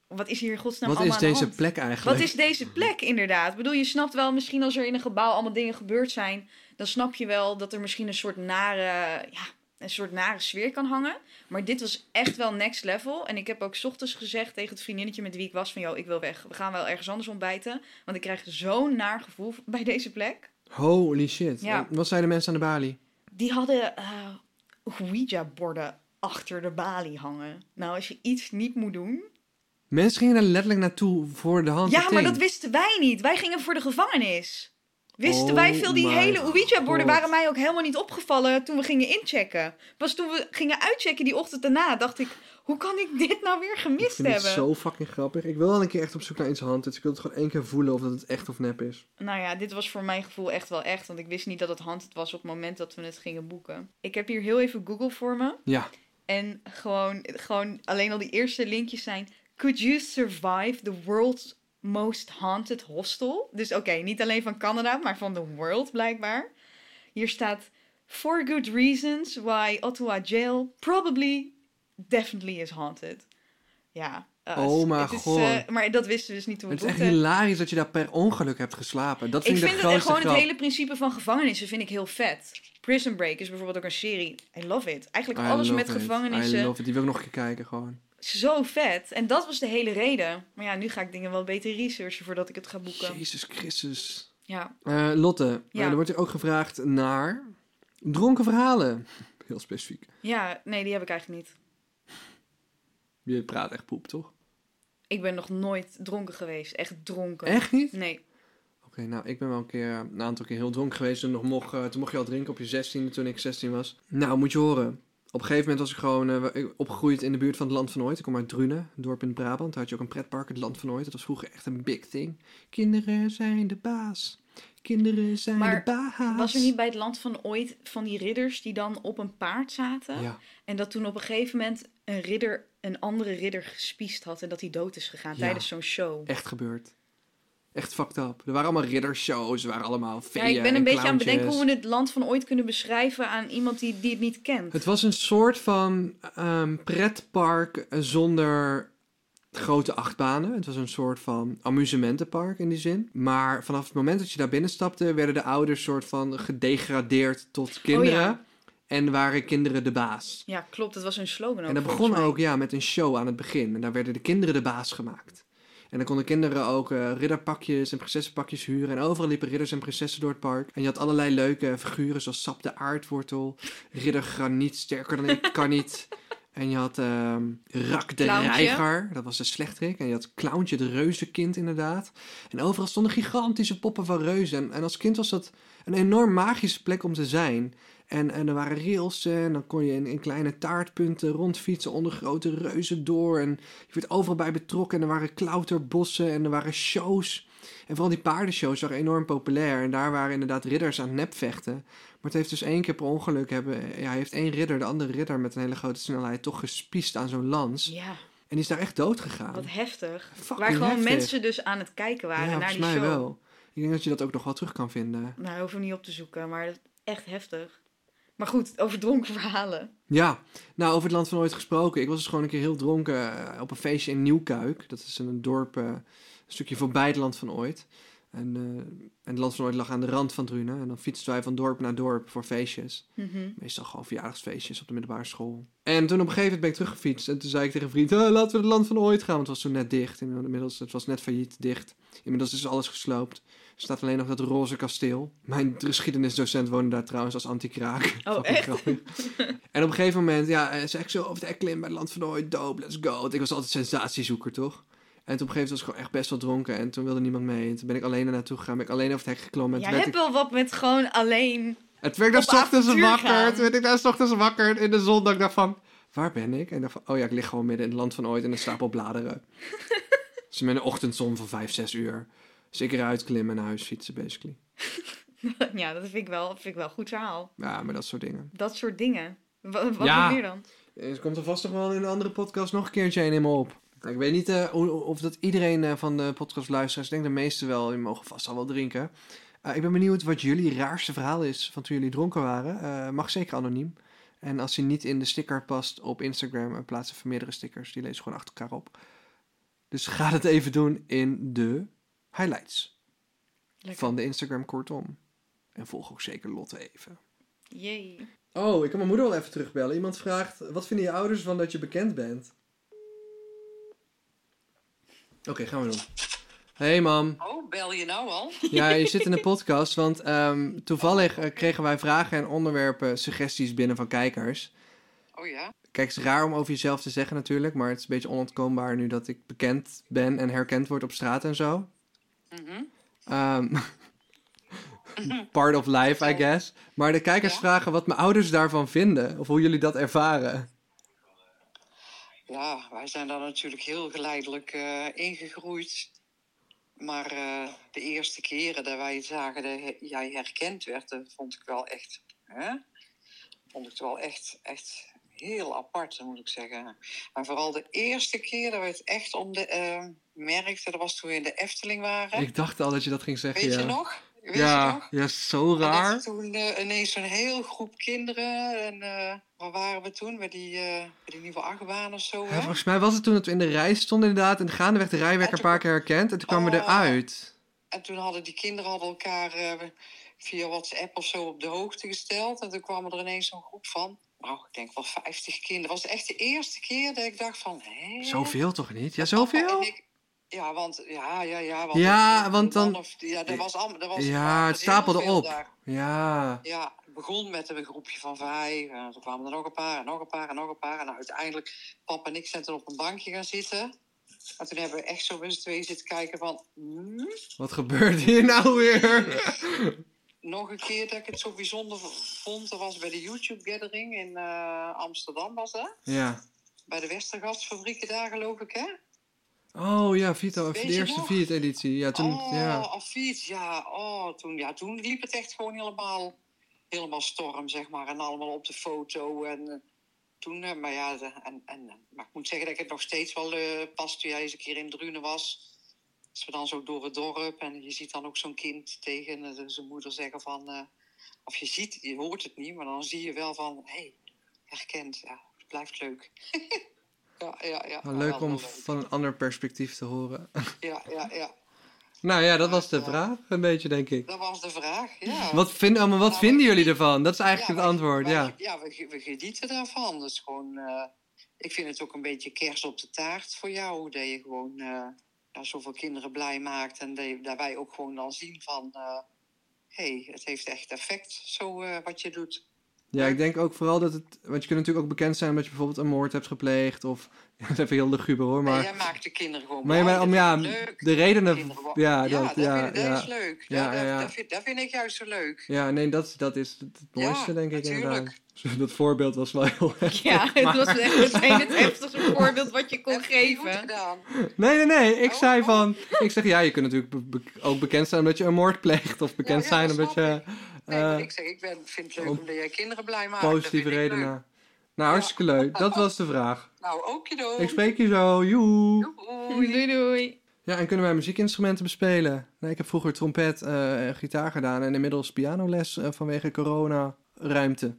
[SPEAKER 2] wat is hier in godsnaam
[SPEAKER 1] Wat
[SPEAKER 2] allemaal
[SPEAKER 1] is
[SPEAKER 2] aan de
[SPEAKER 1] deze
[SPEAKER 2] hand?
[SPEAKER 1] plek eigenlijk?
[SPEAKER 2] Wat is deze plek inderdaad? Ik bedoel, je snapt wel misschien als er in een gebouw allemaal dingen gebeurd zijn, dan snap je wel dat er misschien een soort nare, ja, een soort nare sfeer kan hangen. Maar dit was echt wel next level. En ik heb ook 's ochtends gezegd tegen het vriendinnetje met wie ik was van, joh, ik wil weg. We gaan wel ergens anders ontbijten, want ik krijg zo'n naar gevoel bij deze plek.
[SPEAKER 1] Holy shit.
[SPEAKER 2] Ja.
[SPEAKER 1] En Wat zeiden mensen aan de balie?
[SPEAKER 2] Die hadden eh Ouija-borden achter de balie hangen. Nou, als je iets niet moet doen,
[SPEAKER 1] Mensen gingen daar letterlijk naartoe voor de hand.
[SPEAKER 2] Ja, maar dat wisten wij niet. Wij gingen voor de gevangenis. Wisten
[SPEAKER 1] Oh
[SPEAKER 2] wij veel, die
[SPEAKER 1] my
[SPEAKER 2] hele Ouija-borden
[SPEAKER 1] God.
[SPEAKER 2] waren mij ook helemaal niet opgevallen toen we gingen inchecken. Pas toen we gingen uitchecken die ochtend daarna, dacht ik, hoe kan ik dit nou weer
[SPEAKER 1] Ik
[SPEAKER 2] gemist
[SPEAKER 1] vind het
[SPEAKER 2] hebben?
[SPEAKER 1] zo fucking grappig. Ik wil wel een keer echt op zoek naar iets hand. Dus ik wil het gewoon één keer voelen of dat het echt of nep is.
[SPEAKER 2] Nou ja, dit was voor mijn gevoel echt wel echt, want ik wist niet dat het hand het was op het moment dat we het gingen boeken. Ik heb hier heel even Google voor me
[SPEAKER 1] Ja.
[SPEAKER 2] en gewoon, gewoon alleen al die eerste linkjes zijn... Could you survive the world's most haunted hostel? Dus oké, niet alleen van Canada, maar van de world blijkbaar. Hier staat... For good reasons why Ottawa jail probably definitely is haunted. Ja. eh,
[SPEAKER 1] Oh
[SPEAKER 2] het
[SPEAKER 1] mijn
[SPEAKER 2] is,
[SPEAKER 1] god.
[SPEAKER 2] eh, maar dat wisten we dus niet toen we
[SPEAKER 1] Het is echt
[SPEAKER 2] boekten.
[SPEAKER 1] hilarisch dat je daar per ongeluk hebt geslapen. Dat vind
[SPEAKER 2] Ik
[SPEAKER 1] ik,
[SPEAKER 2] vind
[SPEAKER 1] de
[SPEAKER 2] het en
[SPEAKER 1] grootste
[SPEAKER 2] gewoon het
[SPEAKER 1] grap.
[SPEAKER 2] hele principe van gevangenissen vind ik heel vet. Prison Break is bijvoorbeeld ook een serie. I love it. Eigenlijk
[SPEAKER 1] I
[SPEAKER 2] alles
[SPEAKER 1] love
[SPEAKER 2] met
[SPEAKER 1] it. I
[SPEAKER 2] gevangenissen.
[SPEAKER 1] love it. Die wil ik nog een keer kijken gewoon.
[SPEAKER 2] Zo vet. En dat was de hele reden. Maar ja, nu ga ik dingen wel beter researchen voordat ik het ga boeken.
[SPEAKER 1] Jezus Christus.
[SPEAKER 2] Ja.
[SPEAKER 1] Eh, Lotte,
[SPEAKER 2] Ja.
[SPEAKER 1] eh, er wordt hier ook gevraagd naar dronken verhalen. Heel specifiek.
[SPEAKER 2] ja, nee, die heb ik eigenlijk niet.
[SPEAKER 1] Je praat echt poep, toch?
[SPEAKER 2] Ik ben nog nooit dronken geweest. Echt dronken.
[SPEAKER 1] Echt niet?
[SPEAKER 2] Nee.
[SPEAKER 1] Oké, nou, ik ben wel een keer, eh, een aantal keer heel dronken geweest. Toen, nog mocht, eh, toen mocht je al drinken op je 16e, toen ik 16 was. Nou, moet je horen. Op een gegeven moment was ik gewoon eh, wa- ik- opgegroeid in de buurt van het Land van Ooit. Ik kom uit Drunen, een dorp in Brabant. Daar had je ook een pretpark, het Land van Ooit. Dat was vroeger echt een big thing. Kinderen zijn de baas. Kinderen zijn
[SPEAKER 2] Maar
[SPEAKER 1] de baas.
[SPEAKER 2] Was er niet bij het land van ooit van die ridders die dan op een paard zaten?
[SPEAKER 1] Ja,
[SPEAKER 2] En dat toen op een gegeven moment een ridder een andere ridder gespiest had en dat hij dood is gegaan
[SPEAKER 1] Ja.
[SPEAKER 2] tijdens zo'n show.
[SPEAKER 1] echt gebeurd. Echt fucked up. Er waren allemaal riddershows, er waren allemaal
[SPEAKER 2] Ja,
[SPEAKER 1] feeën
[SPEAKER 2] ik ben
[SPEAKER 1] en
[SPEAKER 2] een beetje aan het bedenken
[SPEAKER 1] clowntjes.
[SPEAKER 2] hoe we het land van ooit kunnen beschrijven aan iemand die, die het niet kent.
[SPEAKER 1] Het was een soort van ehm, pretpark eh, zonder grote achtbanen. Het was een soort van amusementenpark in die zin. Maar vanaf het moment dat je daar binnen stapte, werden de ouders soort van gedegradeerd
[SPEAKER 2] Oh
[SPEAKER 1] tot kinderen. En waren kinderen de baas.
[SPEAKER 2] Ja, klopt. Dat was een slogan ook.
[SPEAKER 1] En dat
[SPEAKER 2] volgens
[SPEAKER 1] begon
[SPEAKER 2] mij.
[SPEAKER 1] ook ja, met een show aan het begin. En daar werden de kinderen de baas gemaakt. En dan konden kinderen ook eh, ridderpakjes en prinsessenpakjes huren. En overal liepen ridders en prinsessen door het park. En je had allerlei leuke figuren zoals Sap de Aardwortel. Ridder Graniet, sterker dan ik kan niet. En je had ehm, Rak de
[SPEAKER 2] Clowntje.
[SPEAKER 1] Reiger, dat was de slechterik. En je had Clowntje, het reuzenkind inderdaad. En overal stonden gigantische poppen van reuzen. En, en als kind was dat een enorm magische plek om te zijn. En, en er waren rails en dan kon je in, in kleine taartpunten rondfietsen onder grote reuzen door. En je werd overal bij betrokken en er waren klauterbossen en er waren shows. En vooral die paardenshows waren enorm populair. En daar waren inderdaad ridders aan nepvechten. Maar het heeft dus één keer per ongeluk hebben... Ja, heeft één ridder, de andere ridder met een hele grote snelheid... toch gespiest aan zo'n lans.
[SPEAKER 2] Ja,
[SPEAKER 1] En die is daar echt dood gegaan.
[SPEAKER 2] wat heftig.
[SPEAKER 1] Fucking
[SPEAKER 2] Waar gewoon
[SPEAKER 1] heftig.
[SPEAKER 2] mensen dus aan het kijken waren
[SPEAKER 1] ja,
[SPEAKER 2] naar
[SPEAKER 1] volgens
[SPEAKER 2] die
[SPEAKER 1] mij
[SPEAKER 2] show.
[SPEAKER 1] wel. Ik denk dat je dat ook nog wel terug kan vinden.
[SPEAKER 2] Nou, daar hoeven we niet op te zoeken, maar dat is echt heftig. Maar goed, over dronken verhalen.
[SPEAKER 1] Ja, nou over het land van ooit gesproken. Ik was dus gewoon een keer heel dronken eh, op een feestje in Nieuwkuik. Dat is een dorp, eh, een stukje voorbij het land van ooit. En, eh, en het land van ooit lag aan de rand van Drunen. En dan fietsten wij van dorp naar dorp voor feestjes.
[SPEAKER 2] Mhm.
[SPEAKER 1] Meestal gewoon verjaardagsfeestjes op de middelbare school. En toen op een gegeven moment ben ik teruggefietst. En toen zei ik tegen een vriend, "Eh, laten we het land van ooit gaan. Want het was toen net dicht. Inmiddels, het was net failliet dicht. Inmiddels is alles gesloopt. Er staat alleen nog dat roze kasteel. Mijn geschiedenisdocent woonde daar trouwens als antikraak. Fucking
[SPEAKER 2] Oh, echt?
[SPEAKER 1] grappig. en op een gegeven moment ja, eh, zei ik zo over de klim bij het land van ooit. Dope, let's go. Want ik was altijd sensatiezoeker, toch? En toen op een gegeven moment was ik gewoon echt best wel dronken. En toen wilde niemand mee. En toen ben ik alleen er naartoe gegaan. Ben ik alleen over het hek geklommen. En
[SPEAKER 2] Jij
[SPEAKER 1] toen werd
[SPEAKER 2] hebt
[SPEAKER 1] ik-
[SPEAKER 2] wel wat met gewoon alleen.
[SPEAKER 1] het werd ik
[SPEAKER 2] Op
[SPEAKER 1] daar 's ochtends
[SPEAKER 2] avontuur
[SPEAKER 1] wakker.
[SPEAKER 2] gaan.
[SPEAKER 1] Toen werd ik daar 's ochtends wakker in de zon. Dat ik dacht van, waar ben ik? En ik dacht van, oh ja, ik lig gewoon midden in het land van ooit in een stapel bladeren. Dus met een ochtendzon van 5, 6 uur. Dus ik eruit klimmen en naar huis fietsen, basically.
[SPEAKER 2] ja, dat vind ik wel, vind ik wel een goed verhaal.
[SPEAKER 1] Ja, maar dat soort dingen.
[SPEAKER 2] Dat soort dingen. Wa- wat
[SPEAKER 1] Ja.
[SPEAKER 2] nog meer dan?
[SPEAKER 1] Eh, Er komt er vast nog wel in een andere podcast nog een keertje een in me op. Nou, Ik weet niet eh, hoe- of dat iedereen eh, van de podcastluisteraars, ik denk de meesten wel, die mogen vast al wel drinken. Eh, ik ben benieuwd wat jullie raarste verhaal is van toen jullie dronken waren. Eh, mag zeker anoniem. En als je niet in de sticker past op Instagram, eh, plaats even meerdere stickers. Die lees je gewoon achter elkaar op. Dus ga dat even doen in de highlights
[SPEAKER 2] Lekker.
[SPEAKER 1] van de Instagram kortom. En volg ook zeker Lotte even.
[SPEAKER 2] Jee.
[SPEAKER 1] Oh, ik kan mijn moeder wel even terugbellen. Iemand vraagt, wat vinden je ouders van dat je bekend bent? Oké, gaan we doen. Hey mam.
[SPEAKER 3] Oh, bel je nou al?
[SPEAKER 1] Ja, je zit in de podcast, want ehm, toevallig eh, kregen wij vragen en onderwerpen, suggesties binnen van kijkers.
[SPEAKER 3] Oh ja.
[SPEAKER 1] Kijk, het is raar om over jezelf te zeggen natuurlijk, maar het is een beetje onontkoombaar nu dat ik bekend ben en herkend word op straat en zo.
[SPEAKER 3] Mhm.
[SPEAKER 1] Ehm, part of life, I guess. Maar de kijkers
[SPEAKER 3] Ja.
[SPEAKER 1] vragen wat mijn ouders daarvan vinden, of hoe jullie dat ervaren.
[SPEAKER 3] Ja, wij zijn daar natuurlijk heel geleidelijk eh, ingegroeid. Maar eh, de eerste keren dat wij zagen dat he- jij herkend werd, dat vond ik wel echt. Hè? Vond ik wel echt, echt heel apart, moet ik zeggen. Maar vooral de eerste keer dat we het echt om de eh, merkten, dat was toen we in de Efteling waren.
[SPEAKER 1] Ik dacht al dat je dat ging zeggen,
[SPEAKER 3] Weet
[SPEAKER 1] ja.
[SPEAKER 3] je nog? Weet je nog?
[SPEAKER 1] ja, ja, zo
[SPEAKER 3] En
[SPEAKER 1] raar.
[SPEAKER 3] dat toen eh, ineens een heel groep kinderen. En eh, waar waren we toen? Bij die, eh, bij die nieuwe achtbaan of zo.
[SPEAKER 1] Ja,
[SPEAKER 3] Hè?
[SPEAKER 1] volgens mij was het toen dat we in de rij stonden inderdaad en gaandeweg de rij werd
[SPEAKER 3] Ja,
[SPEAKER 1] een paar keer herkend en toen kwamen we
[SPEAKER 3] Oh.
[SPEAKER 1] eruit.
[SPEAKER 3] En toen hadden die kinderen hadden elkaar eh, via WhatsApp of zo op de hoogte gesteld. En toen kwam er ineens zo'n groep van. Nou, ik denk wel 50 kinderen. Het was echt de eerste keer dat ik dacht van... Hè?
[SPEAKER 1] Zoveel toch niet? Ja,
[SPEAKER 3] En
[SPEAKER 1] zoveel?
[SPEAKER 3] Oh, ik- ja, want... Ja, ja, ja. Want
[SPEAKER 1] Ja,
[SPEAKER 3] ik-
[SPEAKER 1] want dan-
[SPEAKER 3] man of- ja, dat was allemaal... dat was-
[SPEAKER 1] Ja,
[SPEAKER 3] was
[SPEAKER 1] het
[SPEAKER 3] heel
[SPEAKER 1] stapelde
[SPEAKER 3] veel
[SPEAKER 1] op.
[SPEAKER 3] daar.
[SPEAKER 1] Ja.
[SPEAKER 3] Ja, het begon met een groepje van vijf. En er kwamen er nog een paar, en nog een paar, en nog een paar. En nou, uiteindelijk, papa en ik zijn er op een bankje gaan zitten. En toen hebben we echt zo met z'n tweeën zitten kijken van... hmm,
[SPEAKER 1] Wat gebeurt hier nou weer?
[SPEAKER 3] nog een keer dat ik het zo bijzonder v- vond, dat was bij de YouTube-gathering in eh, Amsterdam, was dat?
[SPEAKER 1] Ja.
[SPEAKER 3] Bij de Westergasfabrieken daar, geloof ik, hè?
[SPEAKER 1] Oh ja, Vito,
[SPEAKER 3] Weet
[SPEAKER 1] de
[SPEAKER 3] je
[SPEAKER 1] eerste
[SPEAKER 3] nog?
[SPEAKER 1] Fiat-editie. Ja, toen,
[SPEAKER 3] oh,
[SPEAKER 1] ja.
[SPEAKER 3] al fiets, ja. Oh, toen, ja. Toen liep het echt gewoon helemaal, helemaal storm, zeg maar. En allemaal op de foto. En eh, toen, eh, maar ja, de- en, en, maar ik moet zeggen dat ik het nog steeds wel eh, pas toen jij eens een keer in Drunen was. Als we dan zo door het dorp en je ziet dan ook zo'n kind tegen eh, zijn moeder zeggen van... eh, of je ziet, je hoort het niet, maar dan zie je wel van... Hé, hey, herkend, ja, het blijft leuk. ja, ja, ja.
[SPEAKER 1] Nou, leuk
[SPEAKER 3] wel
[SPEAKER 1] om
[SPEAKER 3] heel leuk.
[SPEAKER 1] van een ander perspectief te horen.
[SPEAKER 3] Ja, ja, ja.
[SPEAKER 1] Nou ja, dat was de
[SPEAKER 3] Ja.
[SPEAKER 1] vraag, een beetje, denk ik.
[SPEAKER 3] Dat was de vraag, ja.
[SPEAKER 1] Wat, vind, oh, maar wat
[SPEAKER 3] Nou,
[SPEAKER 1] vinden
[SPEAKER 3] ik-
[SPEAKER 1] jullie ervan? Dat is eigenlijk
[SPEAKER 3] Ja,
[SPEAKER 1] het
[SPEAKER 3] wij-
[SPEAKER 1] antwoord,
[SPEAKER 3] wij-
[SPEAKER 1] ja.
[SPEAKER 3] Ja, we, ge- we genieten daarvan. Dat is gewoon, eh, ik vind het ook een beetje kers op de taart voor jou. Dat je gewoon eh, ja, zoveel kinderen blij maakt. En dat, je- dat wij ook gewoon dan zien van... eh, hey, het heeft echt effect, zo eh, wat je doet.
[SPEAKER 1] Ja, ik denk ook vooral dat het... Want je kunt natuurlijk ook bekend zijn omdat je bijvoorbeeld een moord hebt gepleegd of... Dat is even heel luguber hoor,
[SPEAKER 3] Maar,
[SPEAKER 1] maar...
[SPEAKER 3] jij maakt de kinderen gewoon
[SPEAKER 1] Maar, ja,
[SPEAKER 3] blij.
[SPEAKER 1] maar om,
[SPEAKER 3] Dat
[SPEAKER 1] ja,
[SPEAKER 3] vind ik leuk.
[SPEAKER 1] de redenen...
[SPEAKER 3] Kinderen wo-
[SPEAKER 1] Ja, dat, ja,
[SPEAKER 3] vind ik- dat
[SPEAKER 1] ja.
[SPEAKER 3] is leuk.
[SPEAKER 1] Ja,
[SPEAKER 3] Ja, dat,
[SPEAKER 1] ja, ja.
[SPEAKER 3] Dat, vind, dat vind ik juist zo leuk.
[SPEAKER 1] Ja, nee, dat, dat is het het
[SPEAKER 3] Ja,
[SPEAKER 1] mooiste, denk ik,
[SPEAKER 3] natuurlijk.
[SPEAKER 1] inderdaad. Dat voorbeeld was wel heel erg.
[SPEAKER 2] Ja, het was echt meteen het heftigste voorbeeld wat je kon
[SPEAKER 3] Heb je goed
[SPEAKER 2] geven.
[SPEAKER 3] gedaan.
[SPEAKER 1] Nee, nee, nee. Ik
[SPEAKER 3] Oh,
[SPEAKER 1] zei
[SPEAKER 3] oh.
[SPEAKER 1] van... Ik zeg, ja, je kunt natuurlijk be- be- ook bekend zijn omdat je een moord pleegt. Of bekend
[SPEAKER 3] ja,
[SPEAKER 1] zijn
[SPEAKER 3] dat
[SPEAKER 1] omdat je...
[SPEAKER 3] snap Nee, maar
[SPEAKER 1] eh,
[SPEAKER 3] ik zeg, ik ben, vind het leuk
[SPEAKER 1] om
[SPEAKER 3] omdat jij kinderen blij
[SPEAKER 2] Ah,
[SPEAKER 3] maakt. Dat
[SPEAKER 1] positieve
[SPEAKER 3] vind ik leuk.
[SPEAKER 1] redenen. Nou, hartstikke leuk. Dat was de vraag.
[SPEAKER 3] Nou, ook je
[SPEAKER 1] Ik spreek je zo. Joe.
[SPEAKER 3] Doei.
[SPEAKER 2] Doei doei.
[SPEAKER 1] Ja, en kunnen wij muziekinstrumenten bespelen? Nee, ik heb vroeger trompet eh, en gitaar gedaan. En inmiddels pianoles eh, vanwege corona ruimte.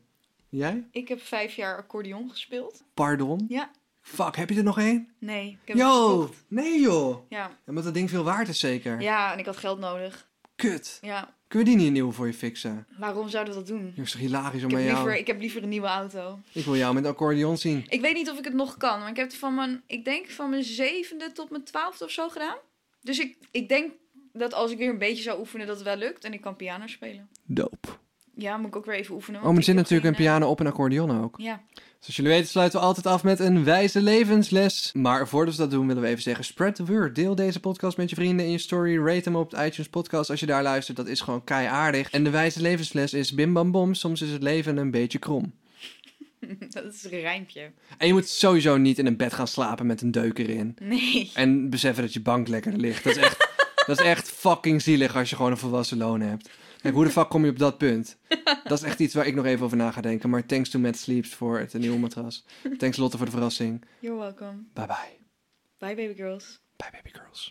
[SPEAKER 1] Jij?
[SPEAKER 2] Ik heb vijf jaar accordeon gespeeld.
[SPEAKER 1] Pardon?
[SPEAKER 2] Ja.
[SPEAKER 1] Fuck, heb je er nog één?
[SPEAKER 2] Nee, ik heb het
[SPEAKER 1] Yo!
[SPEAKER 2] verkocht.
[SPEAKER 1] Nee joh!
[SPEAKER 2] Ja.
[SPEAKER 1] Omdat dat ding veel waard is zeker.
[SPEAKER 2] ja, en ik had geld nodig.
[SPEAKER 1] Kut.
[SPEAKER 2] Ja,
[SPEAKER 1] Kunnen we die niet nieuw voor je fixen?
[SPEAKER 2] waarom zouden we dat doen?
[SPEAKER 1] Dat is toch hilarisch om
[SPEAKER 2] Ik heb,
[SPEAKER 1] aan jou...
[SPEAKER 2] liever, ik heb liever een nieuwe auto.
[SPEAKER 1] Ik wil jou met een accordeon zien.
[SPEAKER 2] Ik weet niet of ik het nog kan, maar ik heb het van mijn, ik denk van mijn zevende tot mijn twaalfde of zo gedaan. Dus ik, ik denk dat als ik weer een beetje zou oefenen, dat het wel lukt. En ik kan piano spelen.
[SPEAKER 1] Dope.
[SPEAKER 2] Ja, moet ik ook weer even oefenen.
[SPEAKER 1] Oh, maar
[SPEAKER 2] want
[SPEAKER 1] er zit
[SPEAKER 2] ik heb
[SPEAKER 1] natuurlijk een
[SPEAKER 2] geen,
[SPEAKER 1] piano op een accordeon ook.
[SPEAKER 2] eh, Ja,
[SPEAKER 1] Zoals Dus jullie weten sluiten we altijd af met een wijze levensles. Maar voordat we dat doen willen we even zeggen, spread the word. Deel deze podcast met je vrienden in je story. Rate hem op het iTunes podcast als je daar luistert. Dat is gewoon keiaardig. En de wijze levensles is bim bam bom, soms is het leven een beetje krom.
[SPEAKER 2] dat is een rijmpje.
[SPEAKER 1] En je moet sowieso niet in een bed gaan slapen met een deuk erin.
[SPEAKER 2] Nee.
[SPEAKER 1] En beseffen dat je bank lekker ligt. Dat is echt, dat is echt fucking zielig als je gewoon een volwassen loon hebt. Kijk, hoe de fuck kom je op dat punt? Dat is echt iets waar ik nog even over na ga denken. Maar thanks to Matt Sleeps voor het nieuwe matras. Thanks Lotte voor de verrassing.
[SPEAKER 2] You're welcome.
[SPEAKER 1] Bye bye.
[SPEAKER 2] Bye baby girls.
[SPEAKER 1] Bye baby girls.